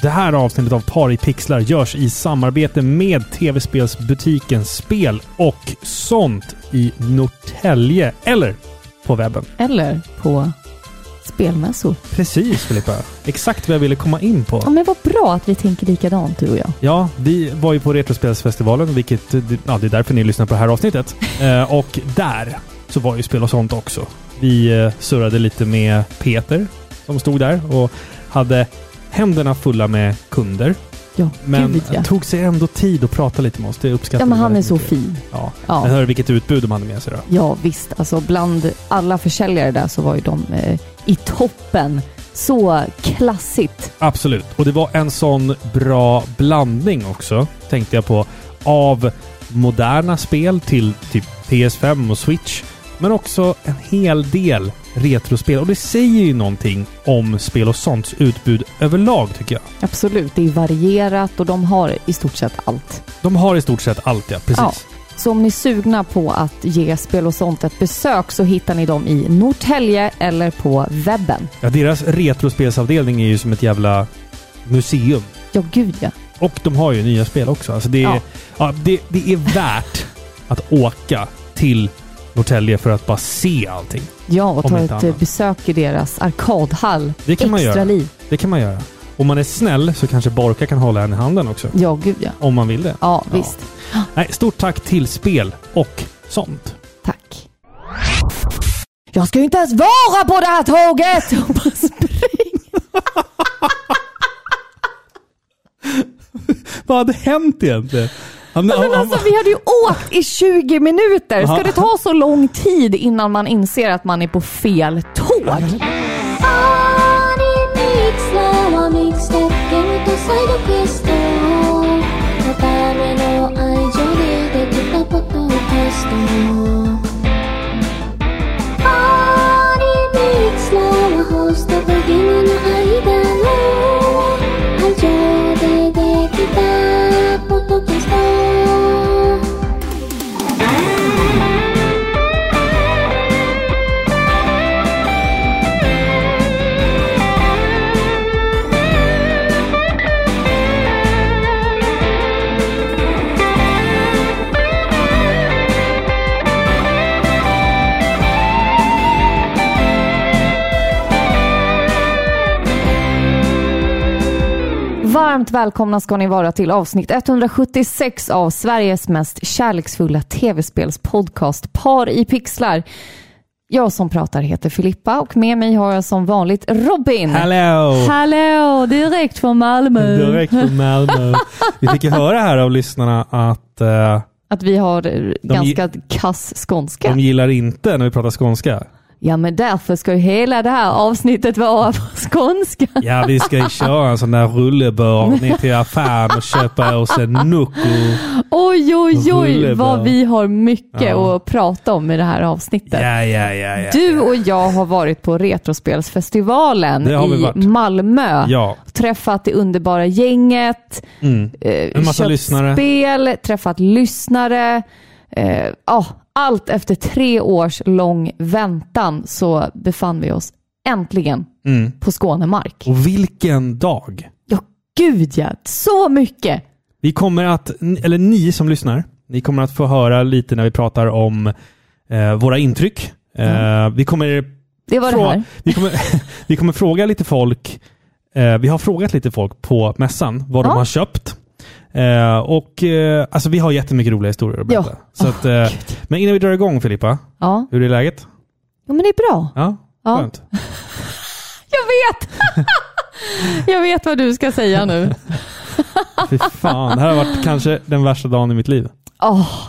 Det här avsnittet av Par i pixlar görs i samarbete med tv-spelsbutiken Spel och sånt i Norrtälje eller på webben. Eller på spelmässor. Precis Filippa. Exakt vad jag ville komma in Ja, på. men vad bra att vi tänker likadant du och jag. Ja, vi var ju på Retrospelsfestivalen, vilket ja, det är därför ni lyssnar på det här avsnittet. Eh, och där så var ju Spel och sånt också. Vi eh, surrade lite med Peter som stod där och hade händerna fulla med kunder. Ja, Men gud ja. tog sig ändå tid att prata lite med oss. Det uppskattar Ja, men vi han är väldigt så mycket. fin. Ja. Men Ja. hör vilket utbud de hade med sig då. ja, visst. Alltså bland alla försäljare där så var ju de eh, i toppen. Så klassigt. Absolut. Och det var en sån bra blandning också, tänkte jag på, av moderna spel till typ PS5 och Switch. Men också en hel del retrospel. Och det säger ju någonting om spel och sånts utbud överlag tycker jag. Absolut, det är varierat och de har i stort sett allt. De har i stort sett allt ja, precis. Ja. Så om ni är sugna på att ge Spel och sånt ett besök så hittar ni dem i Norrtälje eller på webben. ja deras retrospelsavdelning är ju som ett jävla museum. Ja, gud ja. Och de har ju nya spel också. Alltså det, är, ja. Ja. det, det är värt att åka till Norrtälje för att bara se allting. Ja, och Om ta inte ett eh, annat. besök i deras arkadhall. Det kan man Extra göra. liv. Det kan man göra. Om man är snäll så kanske Borka kan hålla en i handen också. Ja, gud ja. Om man vill det. Ja, Ja. visst. Nej, stort tack till spel och sånt. Tack. Jag ska ju inte ens vara på det här tåget! Och bara spring. Vad hade hänt egentligen? Han, Ja, Men alltså, vi hade ju åkt i 20 minuter. Ska det ta så lång tid innan man inser att man är på fel tåg? Podcast. Varmt välkomna ska ni vara till avsnitt 176 av Sveriges mest kärleksfulla tv-spelspodcast Par i pixlar. Jag som pratar heter Filippa och med mig har jag som vanligt Robin. Hello! Hallå, direkt från Malmö. Direkt från Malmö. Vi fick ju höra här av lyssnarna att eh, Att vi har eh, ganska kass skånska. de gillar inte när vi pratar skånska. Ja, men därför ska ju hela det här avsnittet vara på skånska. Ja, vi ska ju köra en sån där rullebör ner till affären och köpa oss en Nucco. Oj, oj, oj, Rulle bra. vad vi har mycket Ja. att prata om i det här avsnittet. Ja, ja, ja. ja. Du och jag har varit på Retrospelsfestivalen Det har vi i varit. Malmö. Ja. Mm. Träffat det underbara gänget, eh, En massa köpt lyssnare. spel, träffat lyssnare. Eh, ja, allt efter tre års lång väntan så befann vi oss äntligen på Skånemark. Mm. Och vilken dag! Ja, gud ja. Så mycket! Vi kommer att, eller ni som lyssnar, ni kommer att få höra lite när vi pratar om eh, våra intryck. Eh, Mm. Vi, kommer Det var det frå- här. vi, kommer, vi kommer fråga lite folk, eh, vi har frågat lite folk på mässan vad Ja. de har köpt. Eh, och eh, alltså vi har jättemycket roliga historier att Ja. berätta. Så att, eh, men innan vi drar igång Filippa, Ja. hur är läget? ja, men det är bra. Ja, Ja. skönt. Jag vet! Jag vet vad du ska säga nu. Fy fan, det här har varit kanske den värsta dagen i mitt liv. Åh,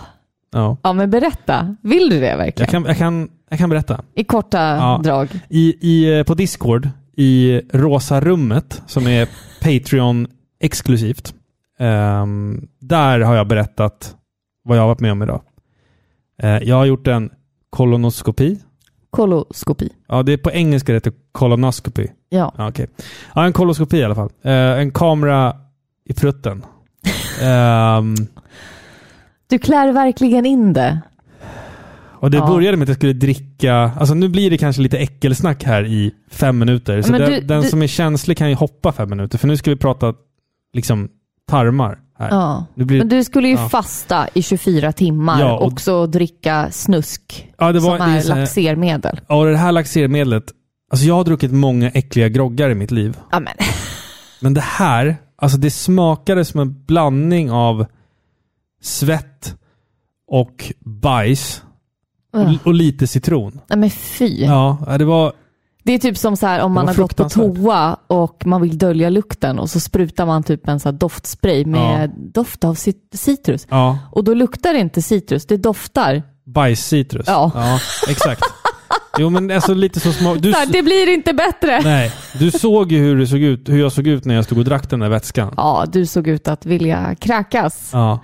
Ja. ja, men berätta. Vill du det verkligen? Jag, kan, jag, kan, jag kan berätta. I korta Ja. drag. I, i, eh, på Discord, i Rosa rummet, som är Patreon exklusivt, ehm, där har jag berättat vad jag har varit med om idag. Eh, jag har gjort en kolonoskopi. Koloskopi. Ja, det är på engelska det heter kolonoskopi. Ja. Ja, okej. ja, en koloskopi i alla fall. Eh, en kamera i prutten. Ehm, Du klär verkligen in det. Och det Ja. började med att jag skulle dricka... Alltså nu blir det kanske lite äckelsnack här i fem minuter. Så Men den, du- den du- som är känslig kan ju hoppa fem minuter. För nu ska vi prata liksom tarmar. Här. Ja. Nu blir, Men du skulle ju Ja. fasta i 24 timmar Ja, och- och så dricka snusk ja, det var, eh, som det är är så här- laxermedel. Ja, och det här laxermedlet. Alltså jag har druckit många äckliga groggar i mitt liv. Ja, men. Men det här, alltså det smakade som en blandning av svett och bajs Ugh. och, och lite citron. Nej, men fy. Ja, det var... Det är typ som så här om Det man var har gått på fruktansvärt. toa och man vill dölja lukten och så sprutar man typ en så här doftspray med doft av cit- citrus. Ja, Och då luktar det inte citrus, det doftar. bajscitrus. Ja. exakt. Jo, men alltså lite så smak... Du, Så här, det blir inte bättre. nej, du såg ju hur, det såg ut, hur jag såg ut när jag stod och drack den där vätskan. Ja, du såg ut att vilja kräkas. Ja.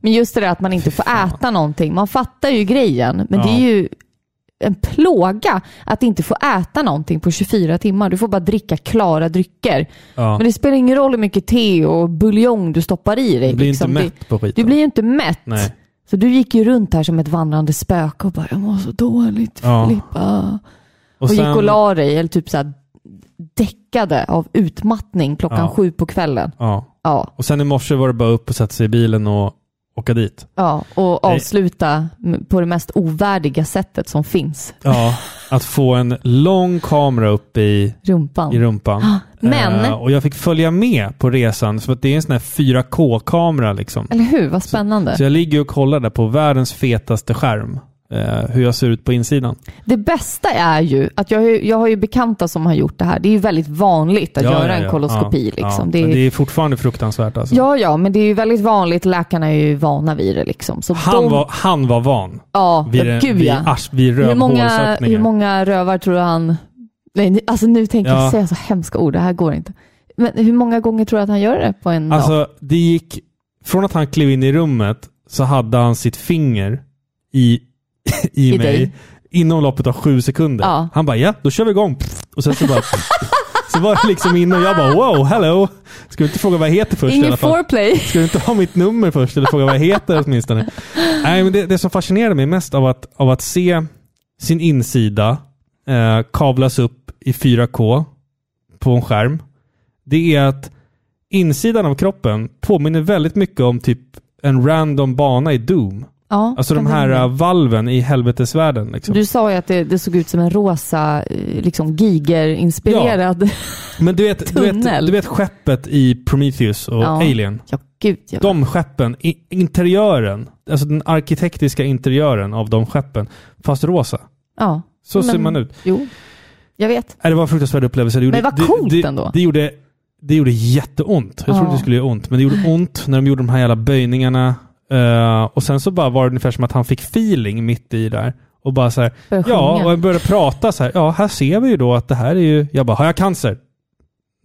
Men just det där att man inte får fan. äta någonting. Man fattar ju grejen, men Ja. det är ju en plåga att inte få äta någonting på 24 timmar. Du får bara dricka klara drycker. ja. Men det spelar ingen roll hur mycket te och buljong du stoppar i dig. Du blir liksom. inte Det- mätt på skiten. Du blir ju inte mätt. Nej. Så du gick ju runt här som ett vandrande spöke och bara “jag mår så dåligt Ja. Filippa”. Och Och, gick sen- och la dig, eller typ så här däckade av utmattning klockan Ja. sju på kvällen. Ja. Ja, Och sen i morse var det bara upp och sätta sig i bilen och åka dit. ja. och Nej. avsluta m- på det mest ovärdiga sättet som finns. Ja, att få en lång kamera upp i, Rumpan. i rumpan. Men- Eh, och jag fick följa med på resan för att det är en sån här 4K-kamera liksom. Eller hur? Vad spännande. Så jag ligger och kollar där på världens fetaste skärm. Eh, hur jag ser ut på insidan. Det bästa är ju att jag, har ju- jag har ju bekanta som har gjort det här. Det är ju väldigt vanligt att göra en koloskopi. Ja, liksom. ja. det är, Men det är fortfarande fruktansvärt alltså. ja, ja, men det är ju väldigt vanligt. Läkarna är ju vana vid det. Liksom. Så han, de, var, han var van ja, vid, det- gud vid, ja. ars, vid Hur många, hur rövhålsöppningar. många rövar tror du han... Nej, nu- alltså nu tänker Ja. jag säga så hemska ord. Det här går inte. Men hur många gånger tror du att han gör det på en dag? Alltså, det gick... Från att han klev in i rummet så hade han sitt finger i, i, I mig dig. inom loppet av sju sekunder. Ja. Han bara ja, då kör vi igång. Och sen så bara... så var jag liksom inne och jag bara wow, hello. Ska du inte fråga vad jag heter först i alla Ingen fall? foreplay. Ska du inte ha mitt nummer först eller fråga vad jag heter åtminstone? Nej, men det, det som fascinerade mig mest av att, av att se sin insida eh, kavlas upp i 4K på en skärm, det är att insidan av kroppen påminner väldigt mycket om typ en random bana i Doom. Ja, Alltså de kan här hända. eh, valven i helvetesvärlden. Liksom. Mm. Du sa ju att det, det såg ut som en rosa, eh, liksom Giger-inspirerad. Ja. Men du vet, du, vet, tunnel. du vet skeppet i Prometheus och Ja. Alien? gud ja. De skeppen, i, interiören, alltså den arkitektiska interiören av de skeppen, fast rosa. ja. Så ser Men- man ut. Jo, jag vet. Nej, Det var en fruktansvärd upplevelse. Det gjorde, Men vad coolt det, det, ändå. Det gjorde, det gjorde jätteont. Jag trodde Ja. det skulle göra ont, men det gjorde ont när de gjorde de här jävla böjningarna. Eh, och sen så bara var det ungefär som att han fick feeling mitt i där. Och bara så här, Började ja, sjunga. och jag började prata så här. Ja, här ser vi ju då att det här är ju... Jag bara, har jag cancer?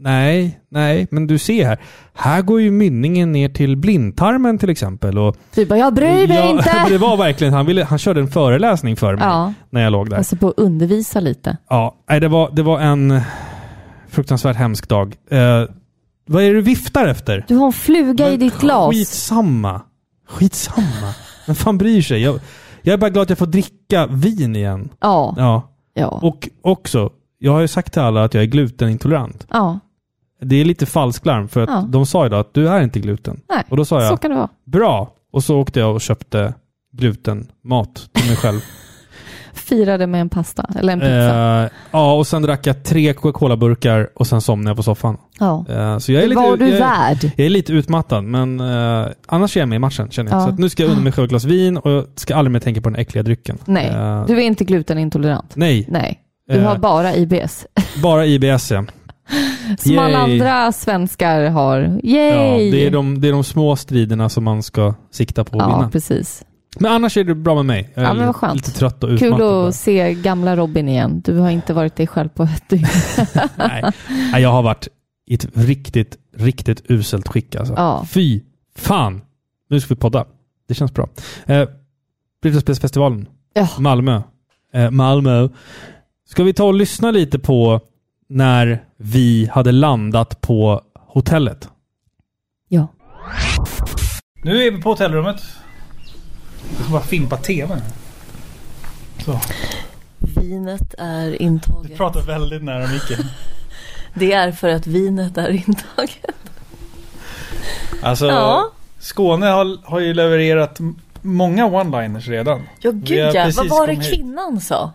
Nej, nej, men du ser här. Här går ju mynningen ner till blindtarmen till exempel. Och Du Typ bara, jag bryr mig Ja, inte. Det var verkligen, han, ville, han körde en föreläsning för mig Ja, när jag låg där. alltså på att undervisa lite. Ja, nej, det, var, det var en fruktansvärt hemsk dag. Eh, vad är det du viftar efter? Du har en fluga i Men ditt glas. Skitsamma. Skitsamma. Vem fan bryr sig? Jag, jag är bara glad att jag får dricka vin igen. Ja, Ja. ja. Och också, jag har ju sagt till alla att jag är glutenintolerant. ja. Det är lite falsklarm för att Ja. de sa idag att du är inte gluten. Nej, Och då sa jag, så kan det vara. bra. Och så åkte jag och köpte glutenmat till mig själv. Firade med en pasta, eller en pizza. Eh, ja, och sen drack jag tre Coca-Cola-burkar och sen somnade jag på soffan. ja. Eh, så jag är Det lite, var du jag, är- värd. jag är lite utmattad, men eh, annars är jag med i matchen känner jag. Ja. Så att nu ska jag unna mig själv ett glas vin och jag ska aldrig mer tänka på den äckliga drycken. Nej, Eh, du är inte glutenintolerant. nej Nej, du Eh. har bara IBS. bara IBS ja. Som alla Yay. andra svenskar har. ja Yay! det, är de, det är de små striderna som man ska sikta på att ja vinna. precis. Men annars är det bra med mig. Jag är Ja, men vad skönt. lite trött och Kul utmattad. bara. att se gamla Robin igen. Du har inte varit dig själv på ett dygn. Nej. Nej, jag har varit i ett riktigt, riktigt uselt skick alltså. Ja. Fy fan! Nu ska vi podda. Det känns bra. Eh, Brittlespelsfestivalen, Ja. Malmö. Eh, Malmö. Ska vi ta och lyssna lite på när vi hade landat på hotellet? Ja. Nu är vi på hotellrummet. Jag ska bara fimpa tvn. också. Vinet är Du intaget. pratar väldigt nära micken. Det är för att vinet är intaget. Alltså, Ja. Skåne har, har ju levererat m- många one-liners redan. Ja Vi har gud ja, vad precis var det kommit hit. kvinnan sa?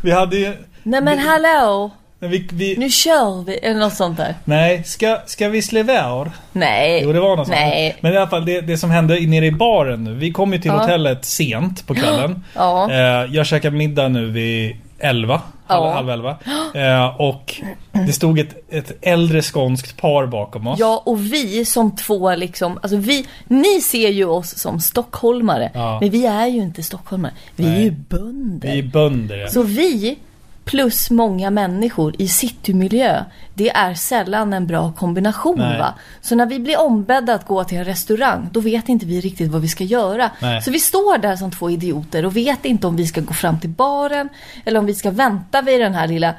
Vi hade ju... Nej men hallå, men Vi, vi, nu kör vi, eller något sånt där. nej, ska, ska vi slevar? Nej. Jo, det var något sånt. Nej. Men i alla fall, det, det som hände i- nere i baren nu. Vi kom ju till Ja. hotellet sent på kvällen. Ja. Eh, jag käkade middag nu vid 11. Halv, Ja. halv 11. Eh, och det stod ett, ett äldre skånskt par bakom oss. Ja och vi som två liksom, alltså vi, ni ser ju oss som stockholmare. Ja. Men vi är ju inte stockholmare, vi är Nej. ju bönder. Vi är bönder. ja. Så vi plus många människor i citymiljö, det är sällan en bra kombination Nej. va. Så när vi blir ombedda att gå till en restaurang, då vet inte vi riktigt vad vi ska göra. Nej. Så vi står där som två idioter och vet inte om vi ska gå fram till baren eller om vi ska vänta vid den här lilla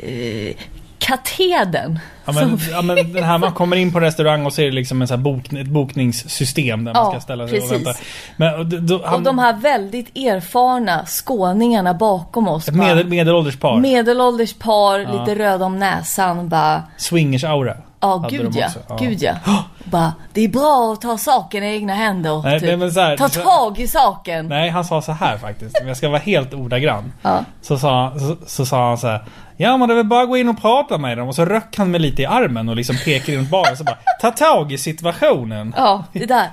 eh, katedern. Ja men, som ja, men den här man kommer in på restaurang och ser det liksom en så här bok, ett bokningssystem där man Ja, ska ställa sig och precis. vänta. Men, och, d- då, han, Och de här väldigt erfarna skåningarna bakom oss. ett bara- medel, medelålders par. medelålders par, lite röd om näsan. Bara, Swingers-aura. ja hade gud de ja, också. gud ja. Bara, det är bra att ta saken i egna händer. typ. Nej, nej, men så här- ta så- tag i saken. Nej, han sa så här faktiskt. Men jag ska vara helt ordagrann. Ja. Så, sa, så, så sa han så här. Ja men det är väl bara att gå in och prata med dem. Och så röck han mig lite i armen och liksom pekade runt baren. Så bara, ta tag i situationen. Ja, det där.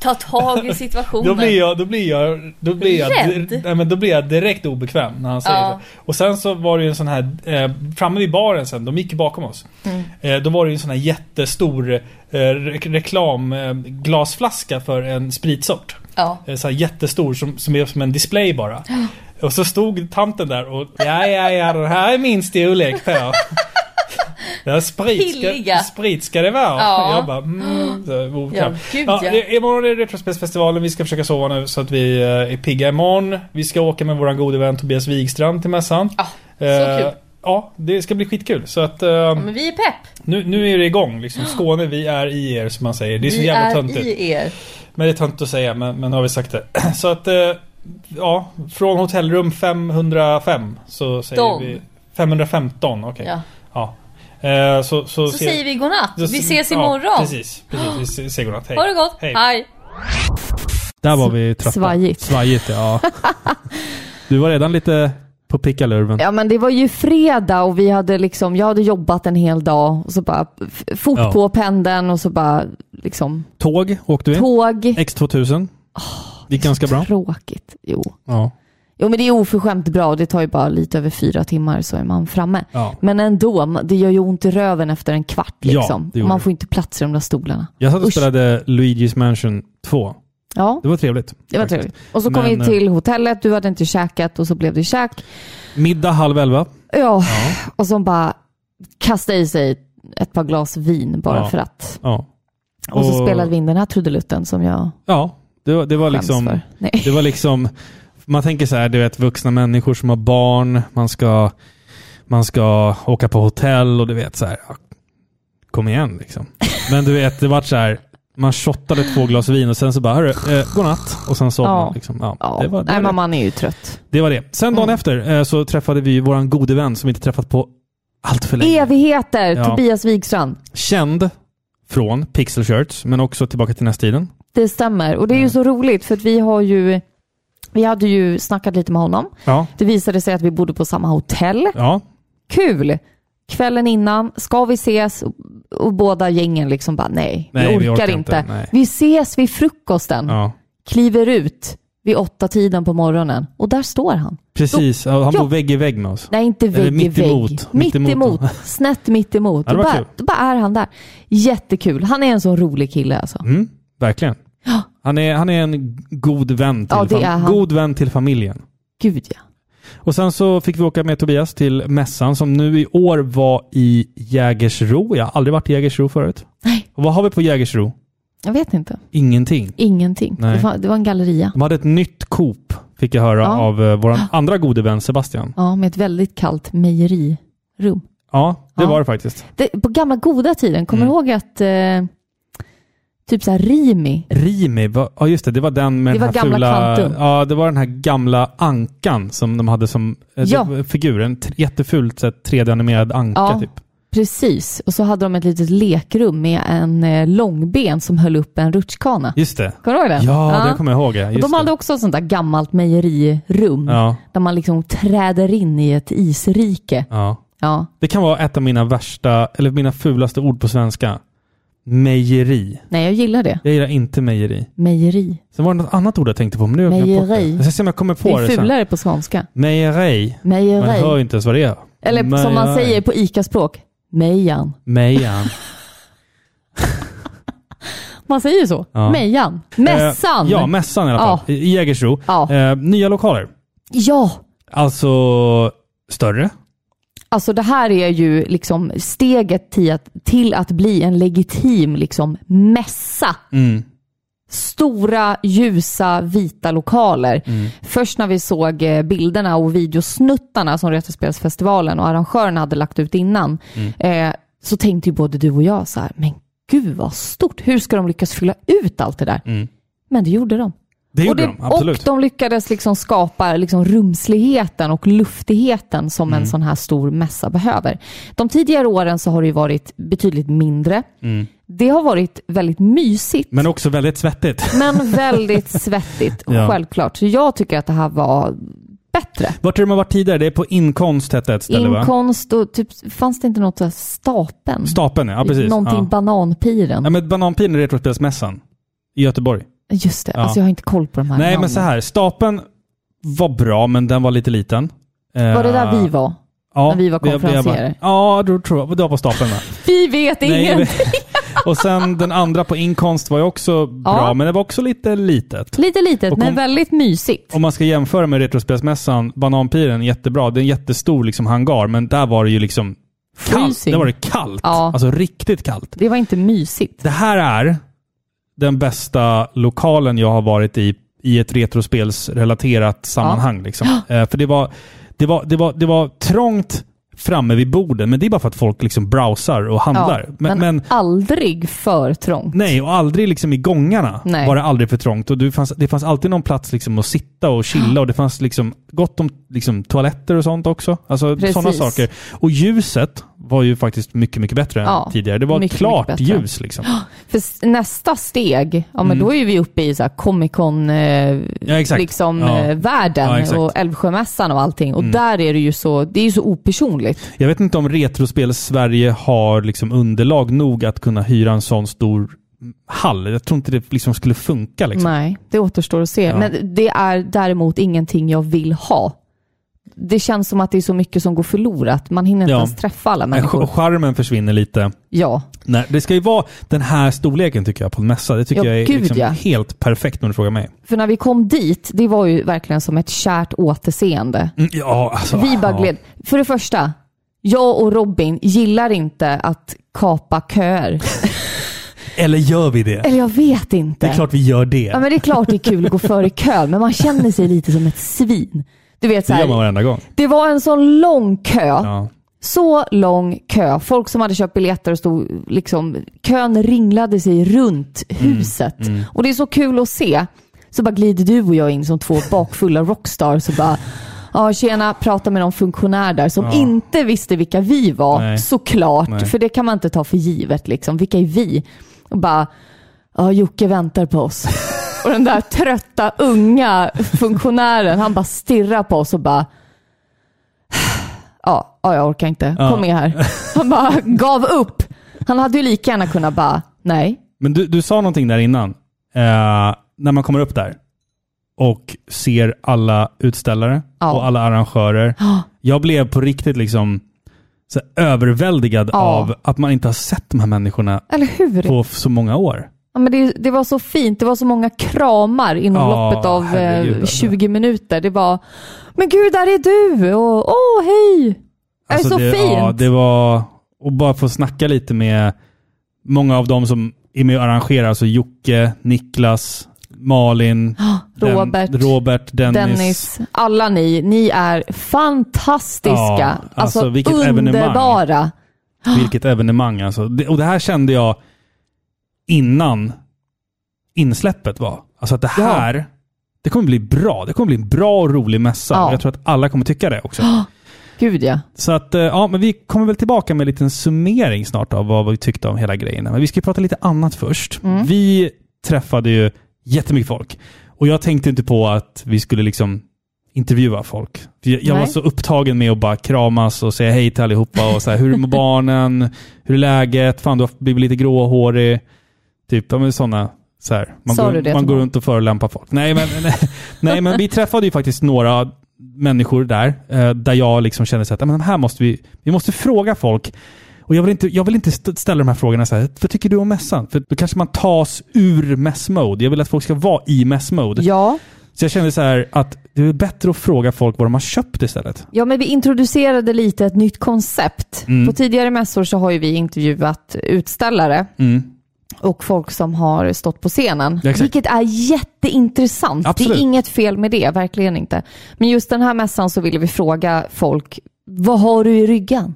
Ta tag i situationen. Då blir jag, då blir jag, då blir jag, Rädd? nej, men då blir jag direkt obekväm när han säger Ja. så. Och sen så var det ju en sån här, eh, framme vid baren sen, de gick ju bakom oss. Mm. Eh, då var det ju en sån här jättestor eh, re reklamglasflaska eh, glasflaska för en spritsort. Ja. Eh, Så här jättestor som, som är som en display bara. Och så stod tanten där och ja ja ja den här är min storlek på. Det här sprit ska, Billiga. sprit ska det vara. Ja. Jag bara mm, så, obekväm. gud, ja, ja. det- Imorgon är det Retrospelsfestivalen. Vi ska försöka sova nu så att vi eh, är pigga imorgon. Vi ska åka med våran gode vän Tobias Wigstrand till mässan. Eh, Ja, så kul. Ja, det ska bli skitkul. Så att eh, Men vi är pepp. nu, nu är det igång liksom. Skåne, vi är i er som man säger. Det är så vi jävla är töntigt. i er. Men det är töntigt att säga, men, men nu har vi sagt det. Så att, eh, ja, från hotellrum 505 så säger Dom. vi... 515, okej. Ja. Ja. Eh, så, så, Så säger vi godnatt. då- Vi ses ja, imorgon. precis, precis. Vi se- säger godnatt. Hej. ha det gott. Hej. Hej. Där var vi trötta. Svajigt. Svajigt, ja. Du var redan lite på pickalurven. Ja men det var ju fredag och vi hade liksom, jag hade jobbat en hel dag och så bara f- fort Ja. på pendeln och så bara liksom Tåg åkte vi. tåg. X2000. Gick ganska bra. Tråkigt. Jo. Ja. jo men det är oförskämt bra, det tar ju bara lite över fyra timmar så är man framme. Ja. Men ändå, ma- det gör ju ont i röven efter en kvart Ja, liksom. det gjorde man det. får inte plats i de där stolarna. Jag satt och Usch. spelade Luigi's Mansion 2. Ja, Det var trevligt. det var faktiskt. trevligt. Och så kom Men, eh, vi till hotellet, du hade inte käkat och så blev det käk. Middag halv elva. Ja, och så bara kastade i sig ett par glas vin bara Ja. för att. Ja. Och, så spelade vi in den här trudelutten som jag Ja, det var, det var skäms liksom... för. Nej. Det var liksom, man tänker så här, du vet vuxna människor som har barn, man ska, man ska åka på hotell och du vet så här, ja, kom igen liksom. Men du vet, det vart så här, man shottade två glas vin och sen så bara, hörru, eh, godnatt. Och sen sov Ja. man. Liksom. Ja, Ja. Det, var, det, Nej, Mm. var men det. man är ju trött. det var det. Sen dagen efter eh, så träffade vi vår gode vän som vi inte träffat på allt för E- länge. Evigheter! Ja. Tobias Wigstrand. Känd från Pixel Shirts, men också Tillbaka till nästiden. Det stämmer. Och det är Mm. ju så roligt för att vi har ju vi hade ju snackat lite med honom. Ja. Det visade sig att vi bodde på samma hotell. Ja, Kul! Kvällen innan, ska vi ses? Och, och båda gängen liksom bara nej, Nej, vi orkar, inte. Nej. Vi ses vid frukosten. ja. Kliver ut vid åtta tiden på morgonen och där står han. Precis, Ja, han Ja. bor vägg i vägg med oss. Nej, inte Eller vägg mitt i vägg. emot. Mitt Mitt emot. emot. Snett mitt emot. Ja, det då, var bara, kul. då bara är han där. Jättekul. Han är en sån rolig kille alltså. Mm, verkligen. Han är, han är en god vän, till Ja, det fam- är han. god vän till familjen. Gud ja. Och sen så fick vi åka med Tobias till mässan som nu i år var i Jägersro. Jag har aldrig varit i Jägersro förut. Nej. Och vad har vi på Jägersro? Jag vet inte. Ingenting. Ingenting. Nej. Det var, det var en galleria. De hade ett nytt Coop, fick jag höra Ja. av eh, vår andra gode vän Sebastian. Ja, med ett väldigt kallt mejerirum. Ja, det Ja. var det faktiskt. Mm. Det, på gamla goda tiden, kommer du ihåg att eh, Typ så här Rimi. Rimi, va- ja just det, det var den med Det den var här gamla fula... Kvantum. Ja, det var den här gamla ankan som de hade som eh, Ja. det var figur. En t- jättefult så här 3D-animerad anka Ja. typ. Precis. Och så hade de ett litet lekrum med en eh, långben som höll upp en rutschkana. Just det. Kommer du ihåg det? Ja, det kommer jag ihåg. Ja. Och Just de hade det. också ett sånt där gammalt mejerirum Ja, där man liksom träder in i ett isrike. ja. Ja, Det kan vara ett av mina värsta, eller mina fulaste ord på svenska. Mejeri. nej jag gillar det. Jag gillar inte mejeri. Mejeri. Sen var det något annat ord jag tänkte på, men nu har jag glömt bort det. Mejeri. Jag ska se om jag kommer Det på det, är sen. fulare på skånska. Mejeri. Man hör ju Mejeri. inte ens vad det är. Eller som man Mejeri. säger på ICA-språk, mejan. Mejan. Man säger så. Ja. Mejan. Mässan. Eh, ja, mässan i alla fall. I i Jägersro. Ja. Eh, nya lokaler. ja. Alltså större. Alltså det här är ju liksom steget till att, till att bli en legitim liksom mässa. Mm. Stora, ljusa, vita lokaler. Mm. Först när vi såg eh, bilderna och videosnuttarna som Retrospelsfestivalen och arrangörerna hade lagt ut innan, Mm. eh, så tänkte ju både du och jag så här, men gud vad stort, hur ska de lyckas fylla ut allt det där? Mm. Men det gjorde de. Det gjorde och, de, absolut. och de lyckades liksom skapa liksom rumsligheten och luftigheten som Mm. en sån här stor mässa behöver. De tidigare åren så har det ju varit betydligt mindre. Mm. Det har varit väldigt mysigt, Men också väldigt svettigt. men väldigt svettigt, Ja. självklart. Så jag tycker att det här var bättre. Vart är de har varit tidigare? Det är på Inkonst hette ett ställe va? Inkonst och typ, fanns det inte något där stapeln? Stapeln, ja precis. Någonting ja. bananpiren. ja, men Bananpiren är Retrospelsmässan i Göteborg. Just det, Ja. alltså jag har inte koll på de här Nej, men namnen. så här. Stapeln var bra, men den var lite liten. Eh, Var det där vi var? Ja, när vi var jag- jag bara- konferencierer? Ja, då tror jag. Det var på Stapeln va? Vi vet Nej, ingen! men- och sen den andra på Inkonst var ju också bra, men det var också lite litet. Lite litet, Och men kom- väldigt mysigt. Om man ska jämföra med Retrospelsmässan, Bananpiren, jättebra. Det är en jättestor liksom, hangar, men där var det ju liksom kallt. Freezing. Där var det kallt. Ja. Alltså riktigt kallt. Det var inte mysigt. Det här är den bästa lokalen jag har varit i, i ett retrospelsrelaterat sammanhang. Liksom. Eh, För det var, det, var, det, var, det var trångt framme vid borden, men det är bara för att folk liksom browsar och handlar. Ja, men, men aldrig för trångt. Nej, och aldrig liksom i gångarna Nej. var det aldrig för trångt. Och du fanns, det fanns alltid någon plats liksom att sitta och chilla och det fanns liksom gott om liksom toaletter och sånt också. Alltså Precis. sådana saker. Och ljuset var ju faktiskt mycket, mycket bättre Ja, än tidigare. Det var mycket, klart mycket bättre. ljus liksom. För s- nästa steg, ja Mm. men då är vi uppe i så här Comic Con, eh, Ja, exakt. liksom, Ja. eh, Ja, världen exakt. Mm. och Älvsjömässan och allting. Och där är det ju så, det är ju så opersonligt. Jag vet inte om Retrospel Sverige har liksom underlag nog att kunna hyra en sån stor hall. Jag tror inte det liksom skulle funka. Liksom. Nej, det återstår att se. Men det är däremot ingenting jag vill ha. Det känns som att det är så mycket som går förlorat. Man hinner inte Ja. ens träffa alla Men människor. sk- Charmen försvinner lite. Ja, Nej, det ska ju vara den här storleken tycker jag på en mässa. Det tycker Ja, jag är gud, liksom ja. helt perfekt om du frågar mig. för när vi kom dit, det var ju verkligen som ett kärt återseende. Mm, Ja, alltså. Vi bara ja. gled. För det första, jag och Robin gillar inte att kapa köer. Eller gör vi det? Eller jag vet inte. Det är klart vi gör det. Ja, men det är klart det är kul att gå före i kö, men man känner sig lite som ett svin. Du vet, så det gör man här, varenda gång. det var en sån lång kö. Ja. Så lång kö. Folk som hade köpt biljetter och stod liksom, kön ringlade sig runt Mm, huset. Och det är så kul att se. Så bara glider du och jag in som två bakfulla rockstars och bara Ja, tjena, prata med någon funktionär där som inte visste vilka vi var Nej. såklart. Nej. För det kan man inte ta för givet liksom. Vilka är vi? Och bara, ja Jocke väntar på oss. och den där trötta unga funktionären, han bara stirrar på oss och bara, ja, ja jag orkar inte. Ja. Kom med här. Han bara gav upp. Han hade ju lika gärna kunnat bara, nej. Men du, du sa någonting där innan. Eh, när man kommer upp där och ser alla utställare Ja. och alla arrangörer. Jag blev på riktigt liksom så här överväldigad Ja. av att man inte har sett de här människorna Eller hur? på f- så många år. Ja, men det, det var så fint. Det var så många kramar inom Ja, loppet av herregud, eh, alltså. 20 minuter. Det var, men gud, där är du! Och åh, hej! Det är så Alltså, det, fint! Ja, det var... Och bara få snacka lite med många av dem som är med och arrangerar. Alltså Jocke, Niklas, Malin, Den- Robert, Robert Dennis. Dennis, alla ni. Ni är fantastiska. Ja, alltså, alltså vilket evenemang. underbara. Vilket evenemang alltså. Det- Och det här kände jag innan insläppet var. Alltså att det här, det kommer bli bra. Det kommer bli en bra och rolig mässa. Ja. Och Jag tror att alla kommer tycka det också. Gud ja. Så att, eh, ja, men vi kommer väl tillbaka med en liten summering snart av vad vi tyckte om hela grejen. Men vi ska ju prata lite annat först. Mm. Vi träffade ju jättemycket folk. Och jag tänkte inte på att vi skulle liksom intervjua folk. Jag, jag var Nej. så upptagen med att bara kramas och säga hej till allihopa och så här, hur mår barnen? Hur är läget? Fan, du har blivit lite gråhårig. Typ, ja men sådana. Så här. Man, Sa går, du det man till går någon? runt och förolämpar folk. Nej men, nej, nej, men vi träffade ju faktiskt några människor där, eh, där jag liksom kände så att "Ja, men här måste vi, vi måste fråga folk. Och jag vill inte, jag vill inte st- ställa de här frågorna så här, vad tycker du om mässan? För då kanske man tas ur mässmode. Jag vill att folk ska vara i mässmode. Ja. Så jag kände så här att det är bättre att fråga folk vad de har köpt istället. Ja, men vi introducerade lite ett nytt koncept. Mm. På tidigare mässor så har ju vi intervjuat utställare och folk som har stått på scenen. Ja, Mm. exakt. vilket är jätteintressant. Absolut. Det är inget fel med det, verkligen inte. Men just den här mässan så ville vi fråga folk, vad har du i ryggen?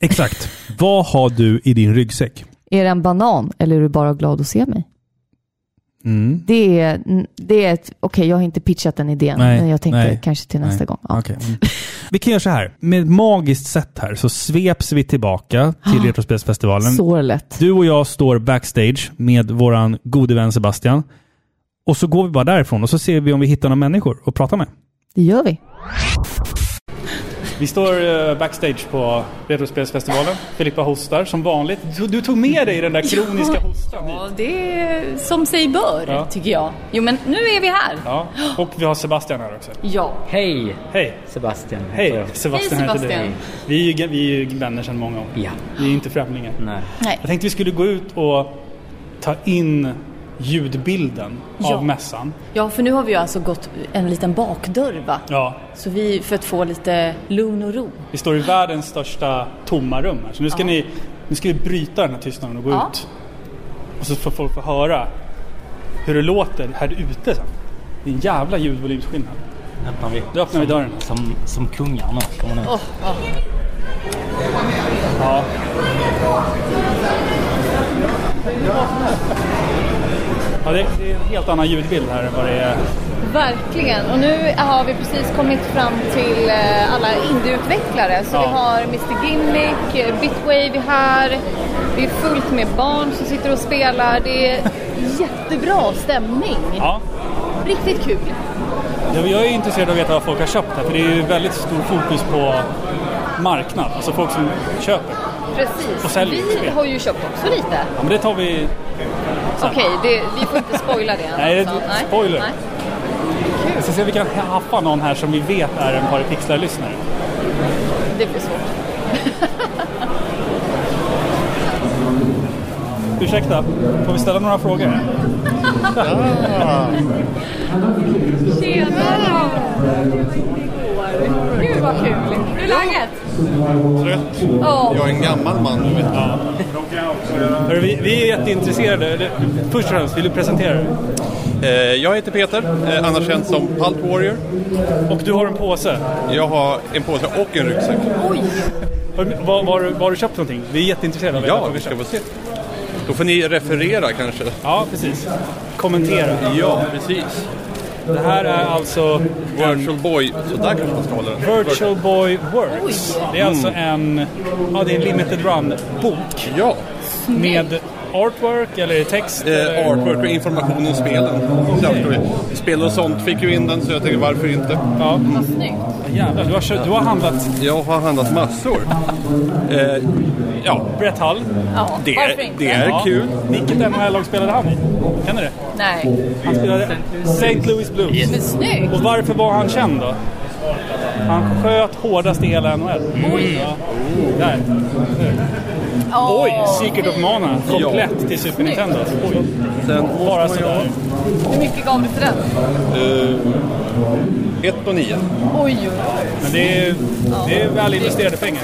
Exakt. vad har du i din ryggsäck? Är det en banan eller är du bara glad att se mig? Mm. Det är, det är ett, okej jag har inte pitchat den idén, Nej, men jag tänkte nej, kanske till nej. nästa gång. Ja. Okej. Mm. Vi kan göra så här. Med ett magiskt sätt här så sveps vi tillbaka till Retrospelsfestivalen. Så lätt. Du och jag står backstage med våran gode vän Sebastian. Och så går vi bara därifrån och så ser vi om vi hittar några människor att prata med. Det gör vi. Vi står eh, backstage på Retrospelsfestivalen. Filippa hostar som vanligt. Du, du tog med dig den där kroniska hostan hit. Ja, det är som sig bör, Ja. tycker jag. Jo, men nu är vi här. Ja. Och vi har Sebastian här också. Ja. Hej Hej! Sebastian heter Hej! jag. Sebastian Hej, heter du. Sebastian. Vi är ju, vi är ju vänner sedan många år. Ja. Vi är inte främlingar. Nej. Nej. Jag tänkte vi skulle gå ut och ta in ljudbilden Ja. av mässan. Ja, för nu har vi ju alltså gått en liten bakdörr, va? Ja, Så vi, för att få lite lugn och ro. vi står i världens största tomma rum här. Så nu ska, ni, nu ska vi bryta den här tystnaden och gå Ja. ut. Och så får folk få höra hur det låter här ute sen. Det är en jävla ljudvolymskillnad. Öppnar vi. Då öppnar vi dörren. Som, som kungar nu. Kommer nu. Ja, det, det är en helt annan ljudbild här än vad det är. Verkligen. Och nu har vi precis kommit fram till eh, alla indieutvecklare. Så Ja. vi har Mr Gimmick, eh, Bitwave är här. Det är fullt med barn som sitter och spelar. Det är jättebra stämning. Ja. Riktigt kul. Ja, Jag är intresserad av att veta vad folk har köpt här för det är ju väldigt stor fokus på marknad, alltså folk som köper. Och Precis. säljer Vi spel. har ju köpt också lite. Ja, men det tar vi... Okej, det- vi får inte spoila det. Nej, det är alltså. spoiler. Nej. Jag ska se om vi kan haffa någon här som vi vet är en par pixlar-lyssnare. Det blir svårt. Ursäkta, får vi ställa några frågor? Tjena! Gud vad kul! Hur är läget? trött. Ja. Jag är en gammal man, du vet. Hörru, Vi, vi är jätteintresserade. Det- Först och främst, vill du presentera dig? Eh, jag heter Peter, eh, annars känd som Palt Warrior. Och du har en påse. Jag har en påse och en ryggsäck. Hörru, Vad vad har du- vad har du köpt någonting? Vi är jätteintresserade av att veta Ja, vad vi du har köpt. ska få se. Då får ni referera kanske. Ja, precis. Kommentera. Ja, precis. Det här är alltså Virtual Boy, så där kanske man ska hålla den. Virtual Boy Works. Det är alltså en, ja, det är en limited run-bok Ja, med artwork eller text. eller- eh, artwork och information om spelen. Okay. Spel och sånt fick ju in den, så jag tänkte varför inte. Ja. Jävlar, du har, kö- du har handlat Jag har handlat massor. Eh, ja, Brett Hall. Ja, det, varför inte? det är kul. Vilket NHL-lag spelade han i? Kan du det? Nej. Han spelade St. Louis Blues. Men snyggt! Och varför var han känd då? Han sköt hårdast i hela NHL. Oj! Ja. Där. Oj! Secret of Mana. Komplett till Super Nintendo. Oj. Sen Bara sådär. Hur mycket gav du för den? eh, 1 och 9. Oj, oj, oj. Men det är, det är väl investerade pengar.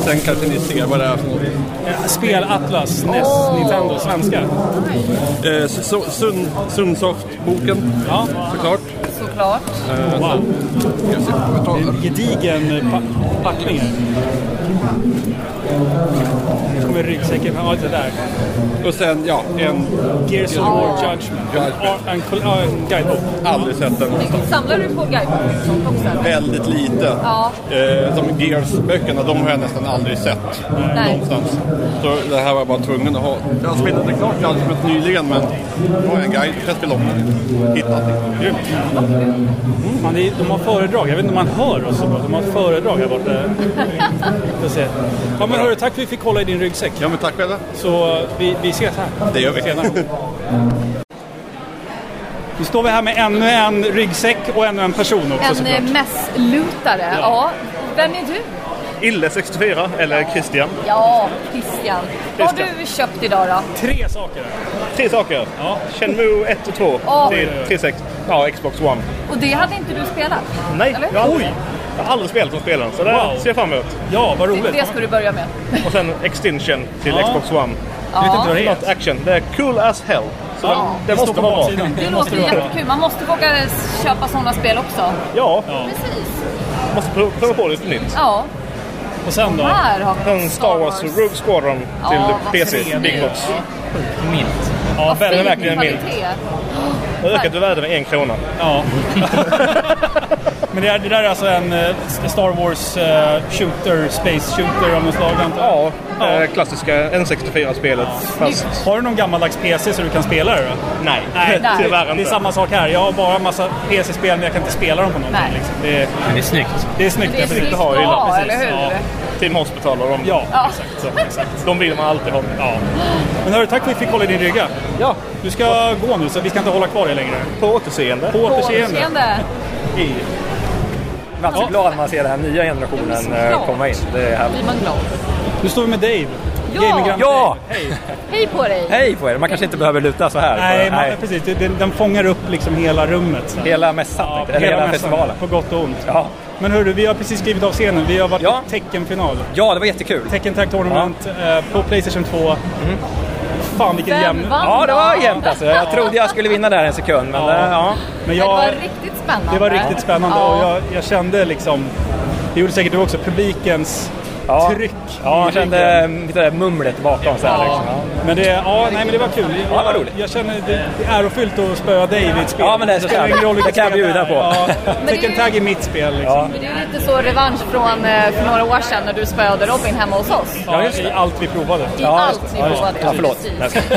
Sen kanske ni ser vad det är för något. Ja, Spel Atlas, NES, Nintendo, svenska. Eh, så- så- Sun, Sunsoft-boken Ja. såklart. Såklart. Wow. Ska vi se, får vi ta Det är den? en gedigen pa- packning här. Nu kommer ryggsäcken. Ja, det där. Och sen, ja, en... Gears of War Judgment. Judgment. En, en, en guidebok. Aldrig sett den någonstans. Samlar du på guideböcker och sånt också? Väldigt lite. Ja. Eh, de Gears-böckerna, de har jag nästan aldrig sett Nej. någonstans. Så det här var jag bara tvungen att ha. Jag spelade klart Judgment nyligen, men det var en guide. Jag spelade om den. Hittade den. Grymt. Man, det är- de har föredrag. Jag vet inte om man hör oss så bra. De har föredrag här borta. Får se. Ja, men hörru, tack för att vi fick kolla i din ryggsäck. Ja, men tack själva. Så eh, vi, vi ses här. Det gör vi. Nu står vi här med ännu en ryggsäck och ännu en person också En såklart. eh, mässlutare. Ja. Vem är du? Ille 64, eller Christian. Ja, Christian. Vad har du köpt idag då? Tre saker. Tre saker. Ja. Shenmue 1 och 2. Ja. Det är 36. Ja, Xbox One. Och det hade inte du spelat? Nej, Eller? jag, har aldrig, jag har aldrig spelat som spelaren, så det Wow. ser jag fram emot. Ja, vad Det, roligt. det ska du börja med. Och sen Extinction till Ja. Xbox One. Jag vet inte vad det Not heter. action. Det är cool as hell. Så Ja, den, den står måste på man ha. baksidan. måste Det låter du ha. jättekul. Man måste våga köpa sådana spel också. Ja, Precis. måste prova, prova på lite nytt. Ja, Och sen då? här har Sen Star Wars Rogue Squadron till vad PC, trevligt. Big Box. Ja, Vad väldigt fin verkligen kvalitet. Har ökat i värde med en krona. Ja. Men det, är, det där är alltså en eh, Star Wars eh, shooter, space shooter av något slag antar jag? Ja, eh, klassiska N64-spelet. Fast Har du någon gammaldags PC så du kan spela det då? nej, det- tyvärr inte. Det är samma sak här. Jag har bara en massa PC-spel men jag kan inte spela dem på någonting. Nej. Liksom. Det, är, Men det är snyggt. det är snyggt. Det är jag vill snyggt inte att ha i hyllan, ha, precis. eller hur? Ja, Team Hospital och de, ja, Ja. Exakt, så, exakt. de vill man alltid ha. Ja. Men hörru, tack för att vi fick hålla i din rygga. Ja, Du ska gå nu, så vi ska inte hålla kvar dig längre. på återseende. På På återseende. återseende. i... Man blir så glad när man ser den här nya generationen eh, komma in. Det är härligt. Blir man glad. Nu står vi med Dave. Ja. Gaminggranne Ja! Dave. Hej. Hej på dig! Hej på er! Man kanske inte behöver luta så här. Nej, man, Nej. precis. Det- Den, den fångar upp liksom hela rummet. Så. Hela mässan, Ja, tänkte jag. eller hela, mässan, festivalen. På gott och ont. Ja. Men hörru, vi har precis skrivit av scenen. Vi har varit Ja. i Teckenfinal. ja, det var jättekul. Tekken-Tag Tournament eh, på Playstation 2. Fan vilken Vem jämn... vann? Mm. Ja, det var jämnt alltså. Jag trodde jag skulle vinna där en sekund, men Ja. eh, ja. Men Det var jag, riktigt spännande. det var riktigt spännande Ja. och jag, jag kände liksom... Det gjorde säkert du också. Publikens ja. tryck. Ja, i jag kände eh, lite där mumlet bakom så här liksom. Ja. Men det, ja, nej, men det var kul. Ja, vad roligt. Jag känner det, det är ärofyllt att spöa dig i ett spel. Ja, men det är så spelar sant. ingen roll vilket Det kan spel jag bjuda är. på. Ja, Men det är ju- Tekken Tag är mitt spel. Liksom. Ja. Men det är ju lite så revansch från eh, för några år sedan när du spöade Robin hemma hos oss. I Ja, i allt vi provade. just allt det. ni Ja, just det. provade. Ja, förlåt. Precis.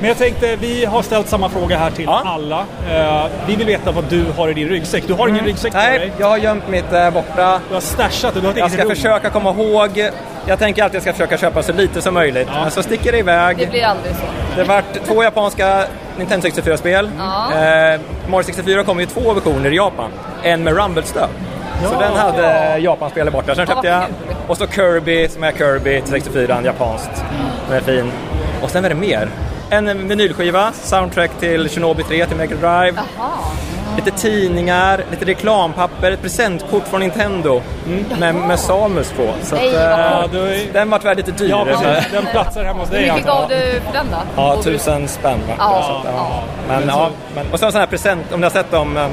Men jag tänkte, vi har ställt samma fråga här till Ja. alla. Eh, vi vill veta vad du har i din ryggsäck. Du har ingen ryggsäck på dig. Mm. Nej, jag har gömt mitt eh, borta. Du har stashat det. Du har ett Jag eget ska rum. försöka komma ihåg. Jag tänker alltid att jag ska försöka köpa så lite som möjligt. Men så sticker det iväg. Det blir aldrig så. Det vart två japanska Nintendo 64-spel. Ja. Eh, Mario 64 kom ju i två versioner i Japan. En med rumble-stöd. Så den hade ja. Japan-spelet borta. Sen köpte jag. vad kul. Och så Kirby som är Kirby till 64, japanskt. Den är fin. Och sen är det mer. En vinylskiva, soundtrack till Shinobi 3 till Mega Drive. Lite tidningar, lite reklampapper, ett presentkort från Nintendo Mm. med, med Samus på. Så att, Nej, vad eh, Ja, du är... den vart väl lite dyr. ja men- precis. Den platsar hemma hos Hur dig alltså. mycket antar gav jag. du för den då? Ja, Och du- tusen spänn vart det. Ja, så att, ja. Men, ja, men, och så en sån här present, om ni har sett dem, eh,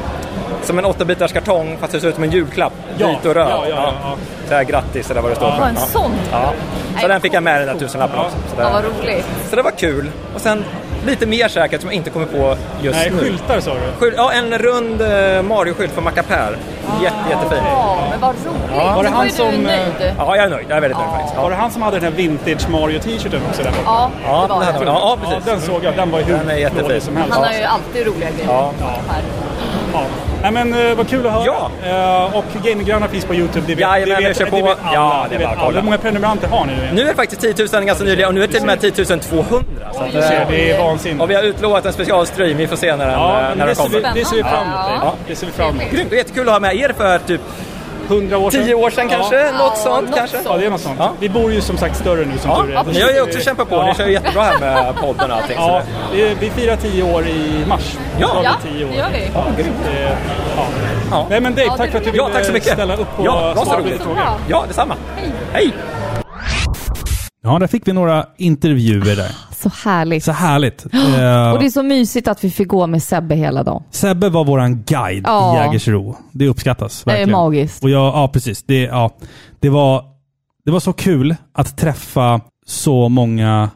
som en åttabitars kartong fast det ser ut som en julklapp. Ja, Vit och röd. ja, ja, ja. Så här grattis eller vad det står Ja, för. en sån. Ja. Så den fick jag med den där tusenlappen också. Så, Ja, vad där. roligt. så det var kul. Och sen lite mer säkert som jag inte kommer på just Nej, nu. skyltar sa du. Skyl- Ja, en rund eh, Mario-skylt från Macapär. Ah. Jätte, jättefin. Ja, men vad roligt. Var det Då han är du som, eh, Nöjd. Ja, jag är nöjd. Jag är väldigt nöjd faktiskt. Var Ja, det han som hade den här vintage Mario-t-shirten också där borta? Ja, ja, det var den hade- det. ja, precis. den såg jag. Den var hur Den är jättefin. dålig som helst. Han har ju alltid roliga grejer. Ja. Här. Ja. Nej men eh, vad kul att höra. Ja. Eh, och Gaminggrannar finns på Youtube. Det vet, Jajamän, det vet, vi kör det på. vet alla. Ja, det är vet bara att alla. kolla. Hur många prenumeranter har ni? Nu är det faktiskt 10 000 ganska nyligen och nu är det till och med 10 200. Så att, Du ser, det är Och vansinnigt. vi har utlovat en specialstream, vi får se när den, Ja, eh, men det när den ser, vi, kommer. kommer. det ser vi fram emot. Spännande. Ja. Det ser vi fram emot. Grymt, och jättekul att ha med er för typ 100 år sedan. 10 år sedan Ja. kanske, något sånt något kanske. Ja, det är något sånt. Ja. Vi bor ju som sagt större nu som Ja, tur är. ja, ni har ju också kämpat på, ni kör ju jättebra här med podden och allting. så Ja, det- vi, vi firar 10 år i mars. Ja. Då har vi Ja, 10 år. det gör vi. Ja, grymt. Eh, ja. Ja. Nej men Dave, Ja, tack för att du det är ville Ja, tack så mycket. ställa upp på Ja, det var så svara på roligt. lite frågor. Ja, detsamma. Hej! Ja, där fick vi några intervjuer där. Så härligt. Så härligt. Eh, Och det är så mysigt att vi fick gå med Sebbe hela dagen. Sebbe var våran guide Ja. i Jägersro. Det uppskattas är verkligen. magiskt. Och jag, ja, precis. Det, ja, det var Det var så kul att träffa så många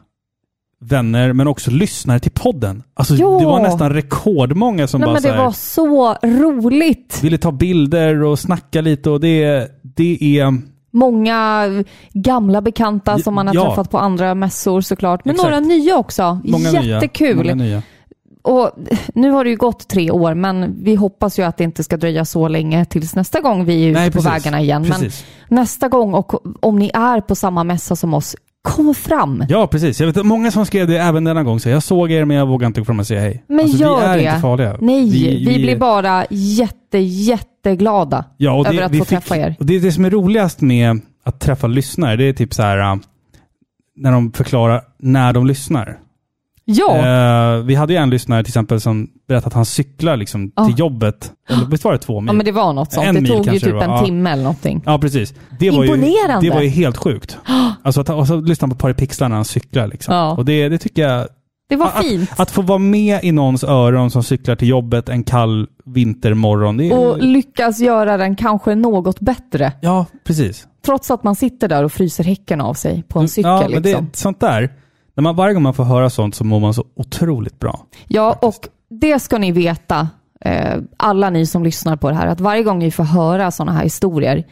vänner, men också lyssnare till podden. Alltså, Ja. det var nästan rekordmånga som Nej, bara men så det här, var så roligt. ville ta bilder och snacka lite och det, det är... Många gamla bekanta som man har Ja. träffat på andra mässor såklart, men Exakt. några nya också. Många Jättekul. Nya, många nya. Och nu har det ju gått tre år, men vi hoppas ju att det inte ska dröja så länge tills nästa gång vi är ute Nej, på precis. vägarna igen. Precis. Men nästa gång, och om ni är på samma mässa som oss, kom fram. Ja, precis. Jag vet att många som skrev det även denna gång. Så jag såg er men jag vågar inte gå fram och säga hej. Men alltså, gör vi är det. inte farliga. Nej, vi, blir bara jätte, jätteglada ja, och det, över att vi få fick, träffa er. Och det, är det som är roligast med att träffa lyssnare, det är typ så här äh, när de förklarar när de lyssnar. Ja, Eh, vi hade ju en lyssnare till exempel som berättade att han cyklar liksom, Ja. till jobbet. Eller visst var det två mil? ja, men det var något sånt. en Det mil tog ju kanske typ det var, en ja. timme eller någonting. Ja, precis. Det var, ju, Imponerande. det var ju helt sjukt. Alltså att och så lyssna på Par i pixlar när han cyklar. Liksom. Ja. Och det, det tycker jag... Det var att, fint. Att, att få vara med i någons öron som cyklar till jobbet en kall vintermorgon. Det är, Och lyckas göra den kanske något bättre. ja, precis. Mm, Trots att man sitter där och fryser häcken av sig på en cykel. ja, men liksom. det, sånt där. När man, varje gång man får höra sånt så mår man så otroligt bra. Ja, och det ska ni veta, eh, alla ni som lyssnar på det här, att varje gång ni får höra sådana här historier,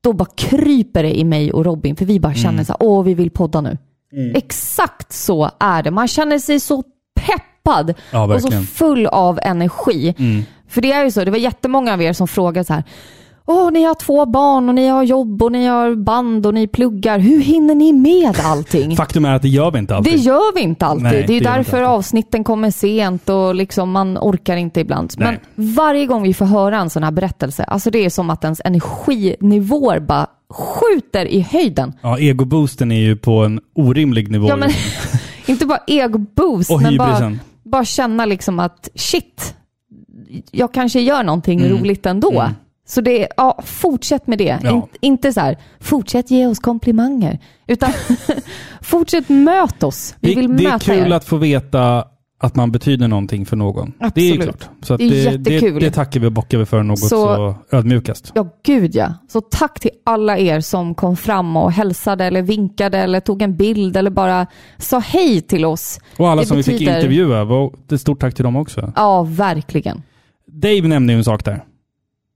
då bara kryper det i mig och Robin, för vi bara Mm. känner så här, åh, vi vill podda nu. Exakt så är det. Man känner sig så peppad Ja, och så verkligen. Mm. full av energi. För det är ju så, det var jättemånga av er som frågade så här, åh, ni har två barn och ni har jobb och ni har band och ni pluggar. Hur hinner ni med allting? Faktum är att det gör vi inte alltid. Det gör vi inte alltid. Nej, det är ju det gör vi inte därför alltid. avsnitten kommer sent och liksom man orkar inte ibland. Nej. Men varje gång vi får höra en sån här berättelse, alltså det är som att ens energinivåer bara skjuter i höjden. Ja, egoboosten är ju på en orimlig nivå. Ja, men, just nu. inte bara egoboost, Och men bara, hybrisen. bara känna liksom att shit, jag kanske gör någonting roligt ändå. Så det är, ja, fortsätt med det. Mm. Ja. In, inte så här, fortsätt ge oss komplimanger. Utan fortsätt möt oss. Vi vill det, det är möta kul er. att få veta att man betyder någonting för någon. Det är ju Absolut. klart. Så att Det är det, jättekul. det tackar vi och bockar vi för något så, Så- ödmjukast. Ja, gud ja. Så tack till alla er som kom fram och hälsade eller vinkade eller tog en bild eller bara sa hej till oss. Och alla Det som vi fick betyder- intervjua, var, ett stort tack till dem också. Ja, verkligen. Dave nämnde ju en sak där.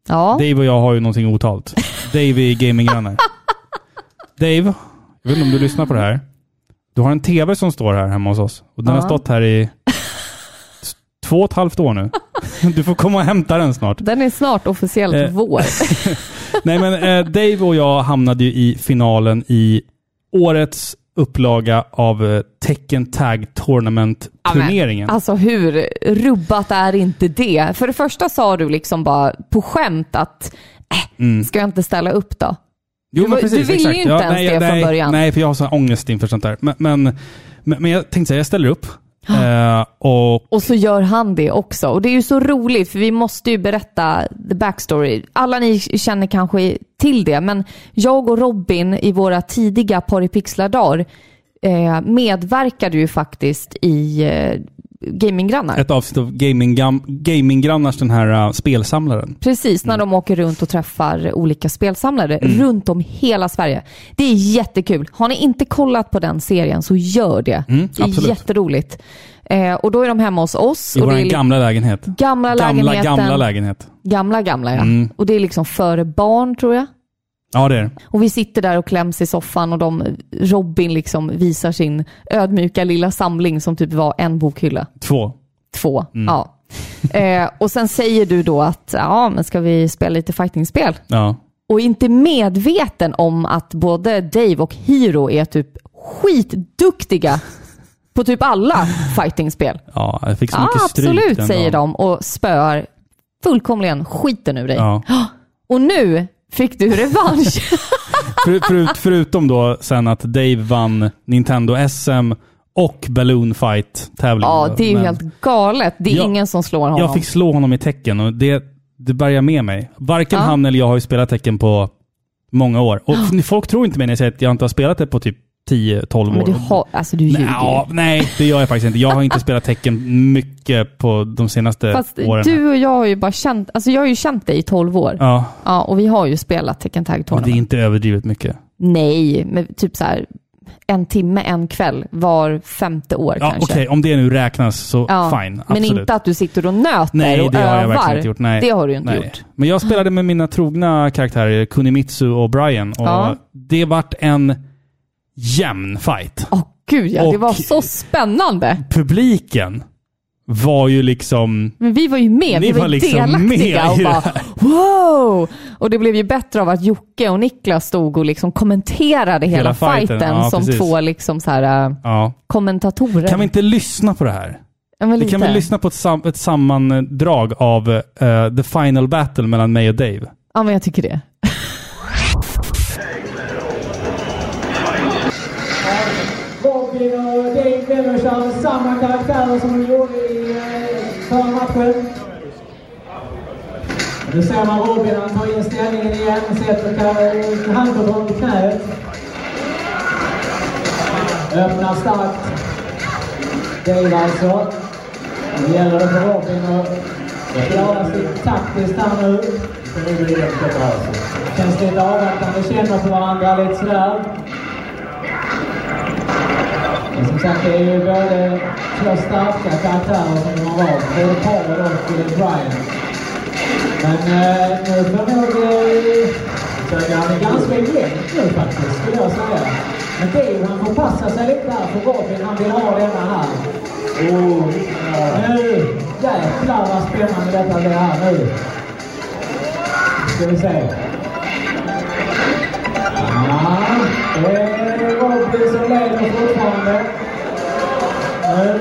Ja, Dave och jag har ju någonting otalt. Dave är gaminggranne. Dave, jag vet inte om du lyssnar på det här. Du har en TV som står här hemma hos oss. Och den Ja. har stått här i t- två och ett halvt år nu. Du får komma och hämta den snart. den är snart officiellt Eh. vår. Nej men eh, Dave och jag hamnade ju i finalen i årets upplaga av eh, Tekken Tag Tournament-turneringen. Alltså hur rubbat är inte det? För det första sa du liksom bara på skämt att äh, Mm. ska jag inte ställa upp då? Jo, Du var- du ville ju inte ens det från nej, början. Nej, för jag har sån ångest inför sånt där. Men, men, men, men jag tänkte säga, jag ställer upp. Ah. Eh, och Och så gör han det också. Och det är ju så roligt för vi måste ju berätta the backstory. Alla ni känner kanske till det, men jag och Robin i våra tidiga Porripixlar-dagar eh, medverkade ju faktiskt i eh, Gaminggrannar. ett avsnitt av Gaming, Gam- Gaminggrannnars, den här eh, spelsamlaren. Precis, Mm. när de åker runt och träffar olika spelsamlare runt om hela Sverige. Det är jättekul. Har ni inte kollat på den serien så gör det. det är Mm, absolut. jätteroligt. Eh, och då är de hemma hos oss. I och vår det är li- gamla lägenhet. gamla Gamla, lägenheten. gamla lägenhet. Gamla, gamla ja. Mm. Och det är liksom före barn tror jag. Ja, det är det. Och vi sitter där och kläms i soffan och de, Robin liksom visar sin ödmjuka lilla samling som typ var en bokhylla. Typ Två. Två. Mm. Ja. eh, och sen säger du då att ja, men ska vi spela lite fightingspel? Ja. Och inte medveten om att både Dave och Hiro är typ skitduktiga på typ alla fightingspel. ja, jag fick så Ja, mycket stryk Ah, absolut den säger dagen. de och spöar fullkomligen skiten ur dig. Ah. Ja. Och nu fick du revansch. För, förut, förutom då sen att Dave vann Nintendo SM och Balloon Fight-tävlingen. ja, det är ju Men helt galet. Det är Jag- ingen som slår honom. Jag fick slå honom i tecken och det, det bär jag med mig. Varken Ja. han eller jag har ju spelat tecken på många år. Och folk tror inte mig när jag säger att jag inte har spelat det på typ 10-12 Men år. du har, alltså du ljuger. Nej, ja, nej, det gör jag faktiskt inte. Jag har inte spelat tecken mycket på de senaste Fast åren. du och jag har ju bara känt, alltså jag har ju känt dig i 12 år. Ja. Ja, och vi har ju spelat Tekken Tag men det är Tournament. inte överdrivet mycket. Nej, men typ så här en timme, en kväll var femte år Ja, kanske. Okej, om det nu räknas så fine. men Absolut. inte att du sitter och nöter Nej, och det har jag övar. verkligen inte gjort. Nej. Det har du ju inte Nej. gjort. Men jag spelade med mina trogna karaktärer Kunimitsu och Brian och Ja. det vart en jämn fight. Åh gud ja, det Och- var så spännande. Publiken var ju liksom... Men vi var ju med, Ni vi var, var ju liksom delaktiga med och i det bara här. wow! Och det blev ju bättre av att Jocke och Niklas stod och liksom kommenterade hela, Hela fighten, fighten, ja, som precis. två liksom så här, äh, Ja. kommentatorer. Kan vi inte lyssna på det här? Ja, men Vi kan lite. väl lyssna på ett, sam ett sammandrag av eh, The Final Battle mellan mig och Dave. Ja, men jag tycker det. Robin och Dave Weber körde samma karaktärer som de gjorde i eh, förra matchen. Nu ser man Robin, han tar in ställningen igen, sätter ka- handkontrollen på knäet. Öppnar starkt. Dave alltså. Nu gäller det för Robin att klara sig taktiskt här nu. Känns lite avvaktande, känner på varandra lite sådär. Men som sagt, det är ju både två starka karaktärer som de har valt. Både Paul och eh, Brian. Men eh, nu får nog... eh, Söker han är ganska jämnt nu faktiskt, skulle jag säga. Men Dave, han får passa sig lite där, för Robin, han vill ha denna här. Oh, nu! Jäklar vad spännande detta blir här nu. Ska vi se. Ja, det är Robin som leder fortfarande. Nu.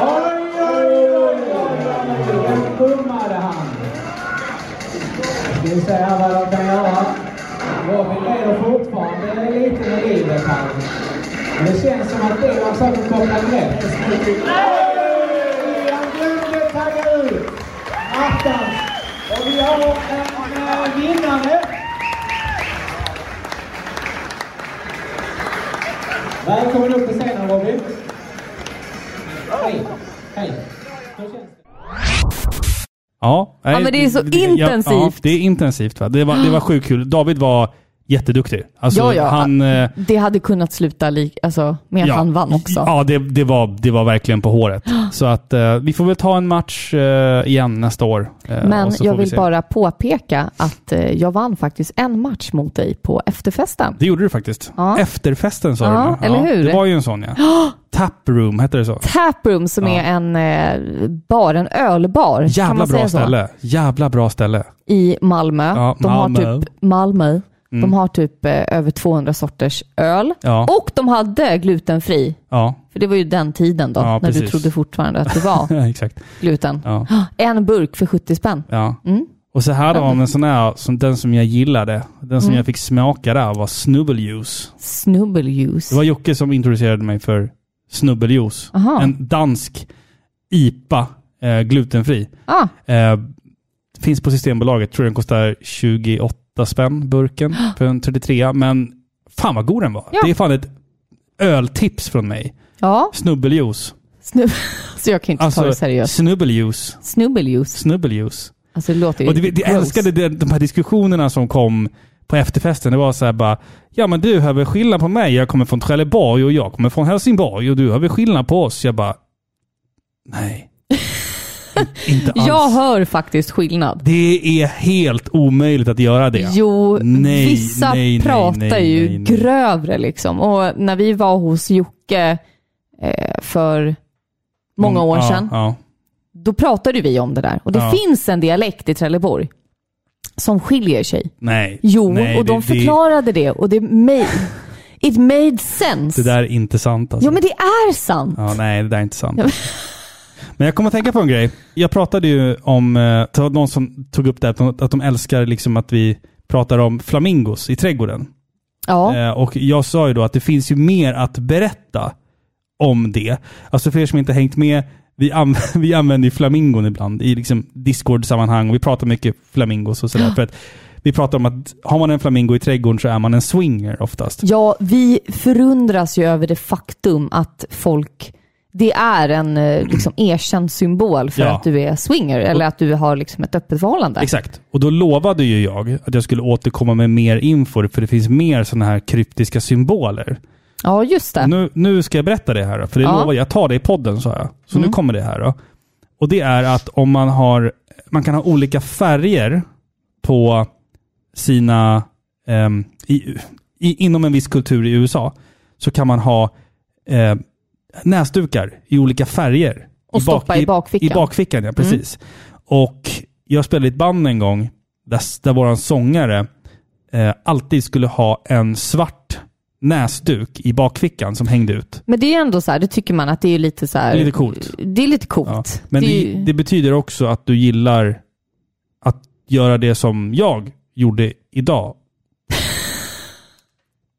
Oj, oj, oj, oj, oj, den bommade han. Ska vi se här vad de kan göra. Robin leder fortfarande Det är lite med livet här. Men det känns som att det var saker kopplat rätt. Oj, Han glömde tagga ut. Attans. Och vi har en eh, vinnare. Välkommen upp på scenen Robin. Hej. Hej. Hur känns det? Ja, nej, Ja, men det är så ja, Ja, intensivt. det är intensivt. Va? Det, var, det var sjukt kul. David var jätteduktig. Alltså, ja, ja. Han, eh, det hade kunnat sluta lik, alltså, med att ja. han vann också. Ja, det, det, var, det var verkligen på håret. Så att eh, vi får väl ta en match eh, igen nästa år. Eh, Men och så jag får vi vill se. bara påpeka att eh, jag vann faktiskt en match mot dig på efterfesten. Det gjorde du faktiskt. Ja. Efterfesten sa Ja, du nu. eller hur? Det var ju en sån ja. Taproom, hette det så? Taproom som Ja. är en eh, bar, en ölbar. kan Jävla man säga bra så? ställe. Jävla bra ställe. I Malmö. Ja, de har Malmö. typ Malmö. De Mm. har typ eh, över 200 sorters öl. Ja. Och de hade glutenfri. Ja, För det var ju den tiden då, Ja, när du precis. trodde fortfarande att det var exakt. gluten. Ja. En burk för 70 spänn. Ja. Mm. Och så här om en sån här, som den som jag gillade, den som Mm. jag fick smaka där var snubbeljuice. Snubbeljuice. Det var Jocke som introducerade mig för snubbeljuice. Aha. En dansk IPA, eh, glutenfri. Ah, Eh, finns på Systembolaget, tror den kostar 28 spänn burken för en 33 men fan vad god den var. Ja. Det är fan ett öltips från mig. ja, Snubbeljuice. snubb... så jag kan inte ta Alltså, det seriöst. snubbeljuice. Snubbeljuice. Snubbeljuice. Alltså det låter ju... Och det, det gross. älskade det, de här diskussionerna som kom på efterfesten. Det var så här bara, ja men du hör väl skillnad på mig, jag kommer från Trelleborg och jag kommer från Helsingborg och du hör väl skillnad på oss. Jag bara, nej. In- inte alls. Jag hör faktiskt skillnad. Det är helt omöjligt att göra det. Jo, Nej, vissa nej, nej, pratar nej, ju nej, nej. grövre liksom. Och när vi var hos Jocke eh, för många år ja, sedan, Ja, då pratade vi om det där. Och det Ja. finns en dialekt i Trelleborg som skiljer sig. Nej. Jo, nej, och de förklarade det och det made, it made sense. Det, det där är inte sant alltså. Ja, men det är sant. Ja, nej, det där är inte sant. Men jag kommer att tänka på en grej. Jag pratade ju om, eh, det var någon som tog upp det, här, att de- att de älskar liksom att vi pratar om flamingos i trädgården. Ja, Eh, Och jag sa ju då att det finns ju mer att berätta om det. Alltså för er som inte hängt med, vi, an vi använder ju flamingon ibland i liksom Discord-sammanhang och vi pratar mycket flamingos och sådär. För att vi pratar om att har man en flamingo i trädgården så är man en swinger oftast. ja, vi förundras ju över det faktum att folk det är en eh, liksom, erkänd symbol för Ja. att du är swinger eller att du har liksom, ett öppet förhållande. Exakt. Och då lovade ju jag att jag skulle återkomma med mer info, för det finns mer sådana här kryptiska symboler. Ja, just det. Nu, nu ska jag berätta det här då, för det Ja. lovade jag. Jag tar det i podden, sa jag. Så Mm. nu kommer det här då. Och det är att om man har... Man kan ha olika färger på sina... ehm, i, i, inom en viss kultur i USA så kan man ha eh, näsdukar i olika färger. Och stoppa i bakfickan. I bakfickan, ja. Precis. Och jag spelade i ett band en gång där, där vår sångare eh, alltid skulle ha en svart näsduk i bakfickan som hängde ut. Men det är ju ändå så här, det tycker man att det är lite så här... Det är lite coolt. Det är lite coolt. Men det, det, är det, ju- betyder också att du gillar att göra det som jag gjorde idag.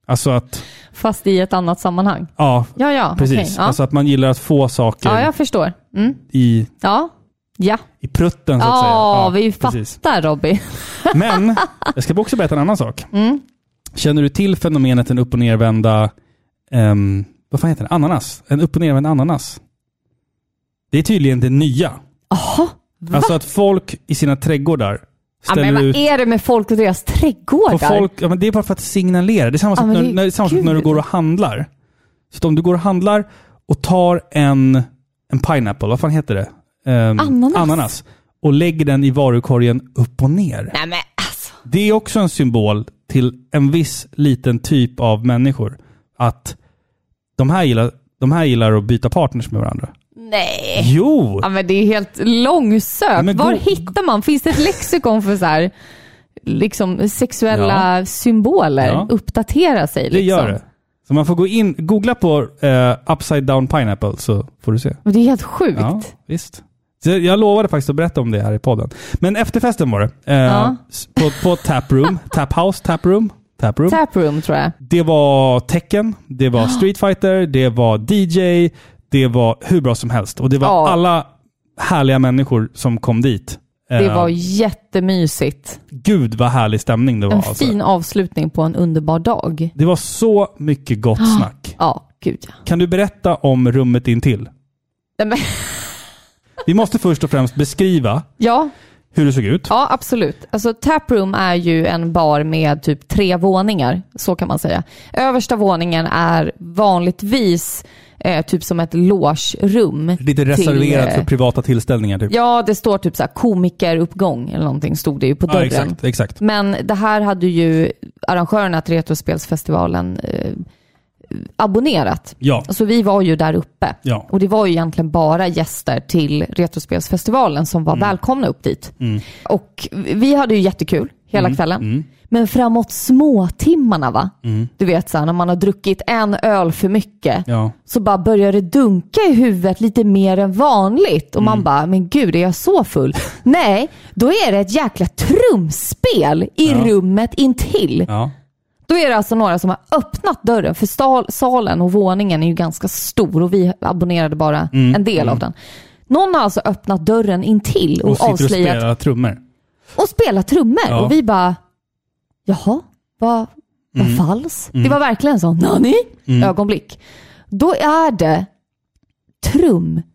alltså att... Fast i ett annat sammanhang. Ja, Ja, ja. precis. okej, ja. Alltså att man gillar att få saker ja, jag förstår. Mm. i, Ja. Ja. i prutten så att säga. Ja, vi precis. fattar Robin. Men jag ska också berätta en annan sak. Mm. Känner du till fenomenet den upp och nervända... ehm, vad fan heter det? Ananas? En upp och nervänd ananas. Det är tydligen det nya. va? Alltså att folk i sina trädgårdar Ja, ställer men vad ut... är det med folk och deras trädgårdar? På folk, ja, men det är bara för att signalera. Det är samma Ja, sak men när, det är när, det är samma sak när du kul. går och handlar. Så att om du går och handlar och tar en, en pineapple, vad fan heter det? Ehm, Ananas. ananas. Och lägger den i varukorgen upp och ner. Nej, men alltså. Det är också en symbol till en viss liten typ av människor. Att de här gillar, de här gillar att byta partners med varandra. Nej. Jo! Ja, men det är helt långsökt. men Var gå- hittar man? Finns det ett lexikon för så här, liksom sexuella symboler? Ja. Uppdatera sig liksom. Det gör det. Så man får gå in, googla på eh, upside down pineapple så får du se. Men det är helt sjukt. Ja, visst. Så jag lovade faktiskt att berätta om det här i podden. Men efterfesten var det. Eh, Ja. s- På, på taproom, taphouse, taproom. Taproom. Taproom tror jag. Det var Tekken, det var Street Fighter, det var DJ, det var hur bra som helst. Och det var Ja. alla härliga människor som kom dit. Det Eh, var jättemysigt. Gud vad härlig stämning det var. En alltså. fin avslutning på en underbar dag. Det var så mycket Ah. gott snack. Ja, gud ja. Kan du berätta om rummet intill? Nej, men, Vi måste först och främst beskriva ja, hur det såg ut. Ja, absolut. Alltså, taproom är ju en bar med typ tre våningar, så kan man säga. Översta våningen är vanligtvis eh, typ som ett logerum. Lite till, reserverat eh, för privata tillställningar. Typ. Ja, det står typ så här komikeruppgång eller någonting stod det ju på dörren. Ja, exakt, exakt. Men det här hade ju arrangörerna till Retrospelsfestivalen eh, abonnerat. Ja. Så vi var ju där uppe. Ja. Och det var ju egentligen bara gäster till Retrospelsfestivalen som var Mm. välkomna upp dit. Och vi hade ju jättekul hela Mm. kvällen. Men framåt småtimmarna va? Du vet så här, när man har druckit en öl för mycket Mm. Ja. så bara börjar det dunka i huvudet lite mer än vanligt. Och man Mm. bara, men gud är jag så full? Nej, då är det ett jäkla trumspel i rummet intill. Ja. Då är det alltså några som har öppnat dörren, för stal- salen och våningen är ju ganska stor och vi abonnerade bara Mm. en del av den. Någon har alltså öppnat dörren intill och, Och sitter och avslöjat spelar trummor. och spela trummor. Ja. Och vi bara, jaha, vad vad Mm. falskt. Det var verkligen så, nani? Ögonblick. Då är det trumkaraoke.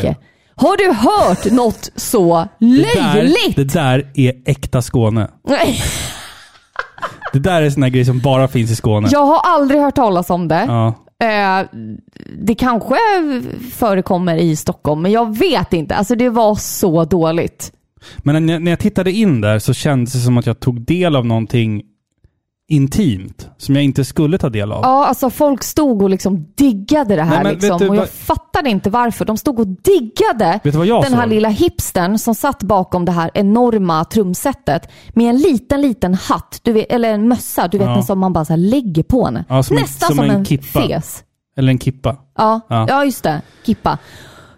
Karaoke. Har du hört något så Det där, löjligt? det där är äkta Skåne. Nej, Det där är sån här grej som bara finns i Skåne. jag har aldrig hört talas om det. Ja. Eh, det kanske förekommer i Stockholm, men jag vet inte. Alltså det var så dåligt. Men när jag, när jag tittade in där så kändes det som att jag tog del av någonting intimt som jag inte skulle ta del av. Ja, alltså folk stod och liksom diggade det här Nej, men vet liksom, du och jag vad- fattade inte varför. De stod och diggade Vet du vad jag den här såg? lilla hipstern som satt bakom det här enorma trumsetet med en liten, liten hatt, du vet, eller en mössa, du vet Ja. en som man bara så här lägger på henne. Ja, som en- Nästan som, som en, en kippa. fes. Eller en kippa. Ja, ja. Ja. just det. Kippa.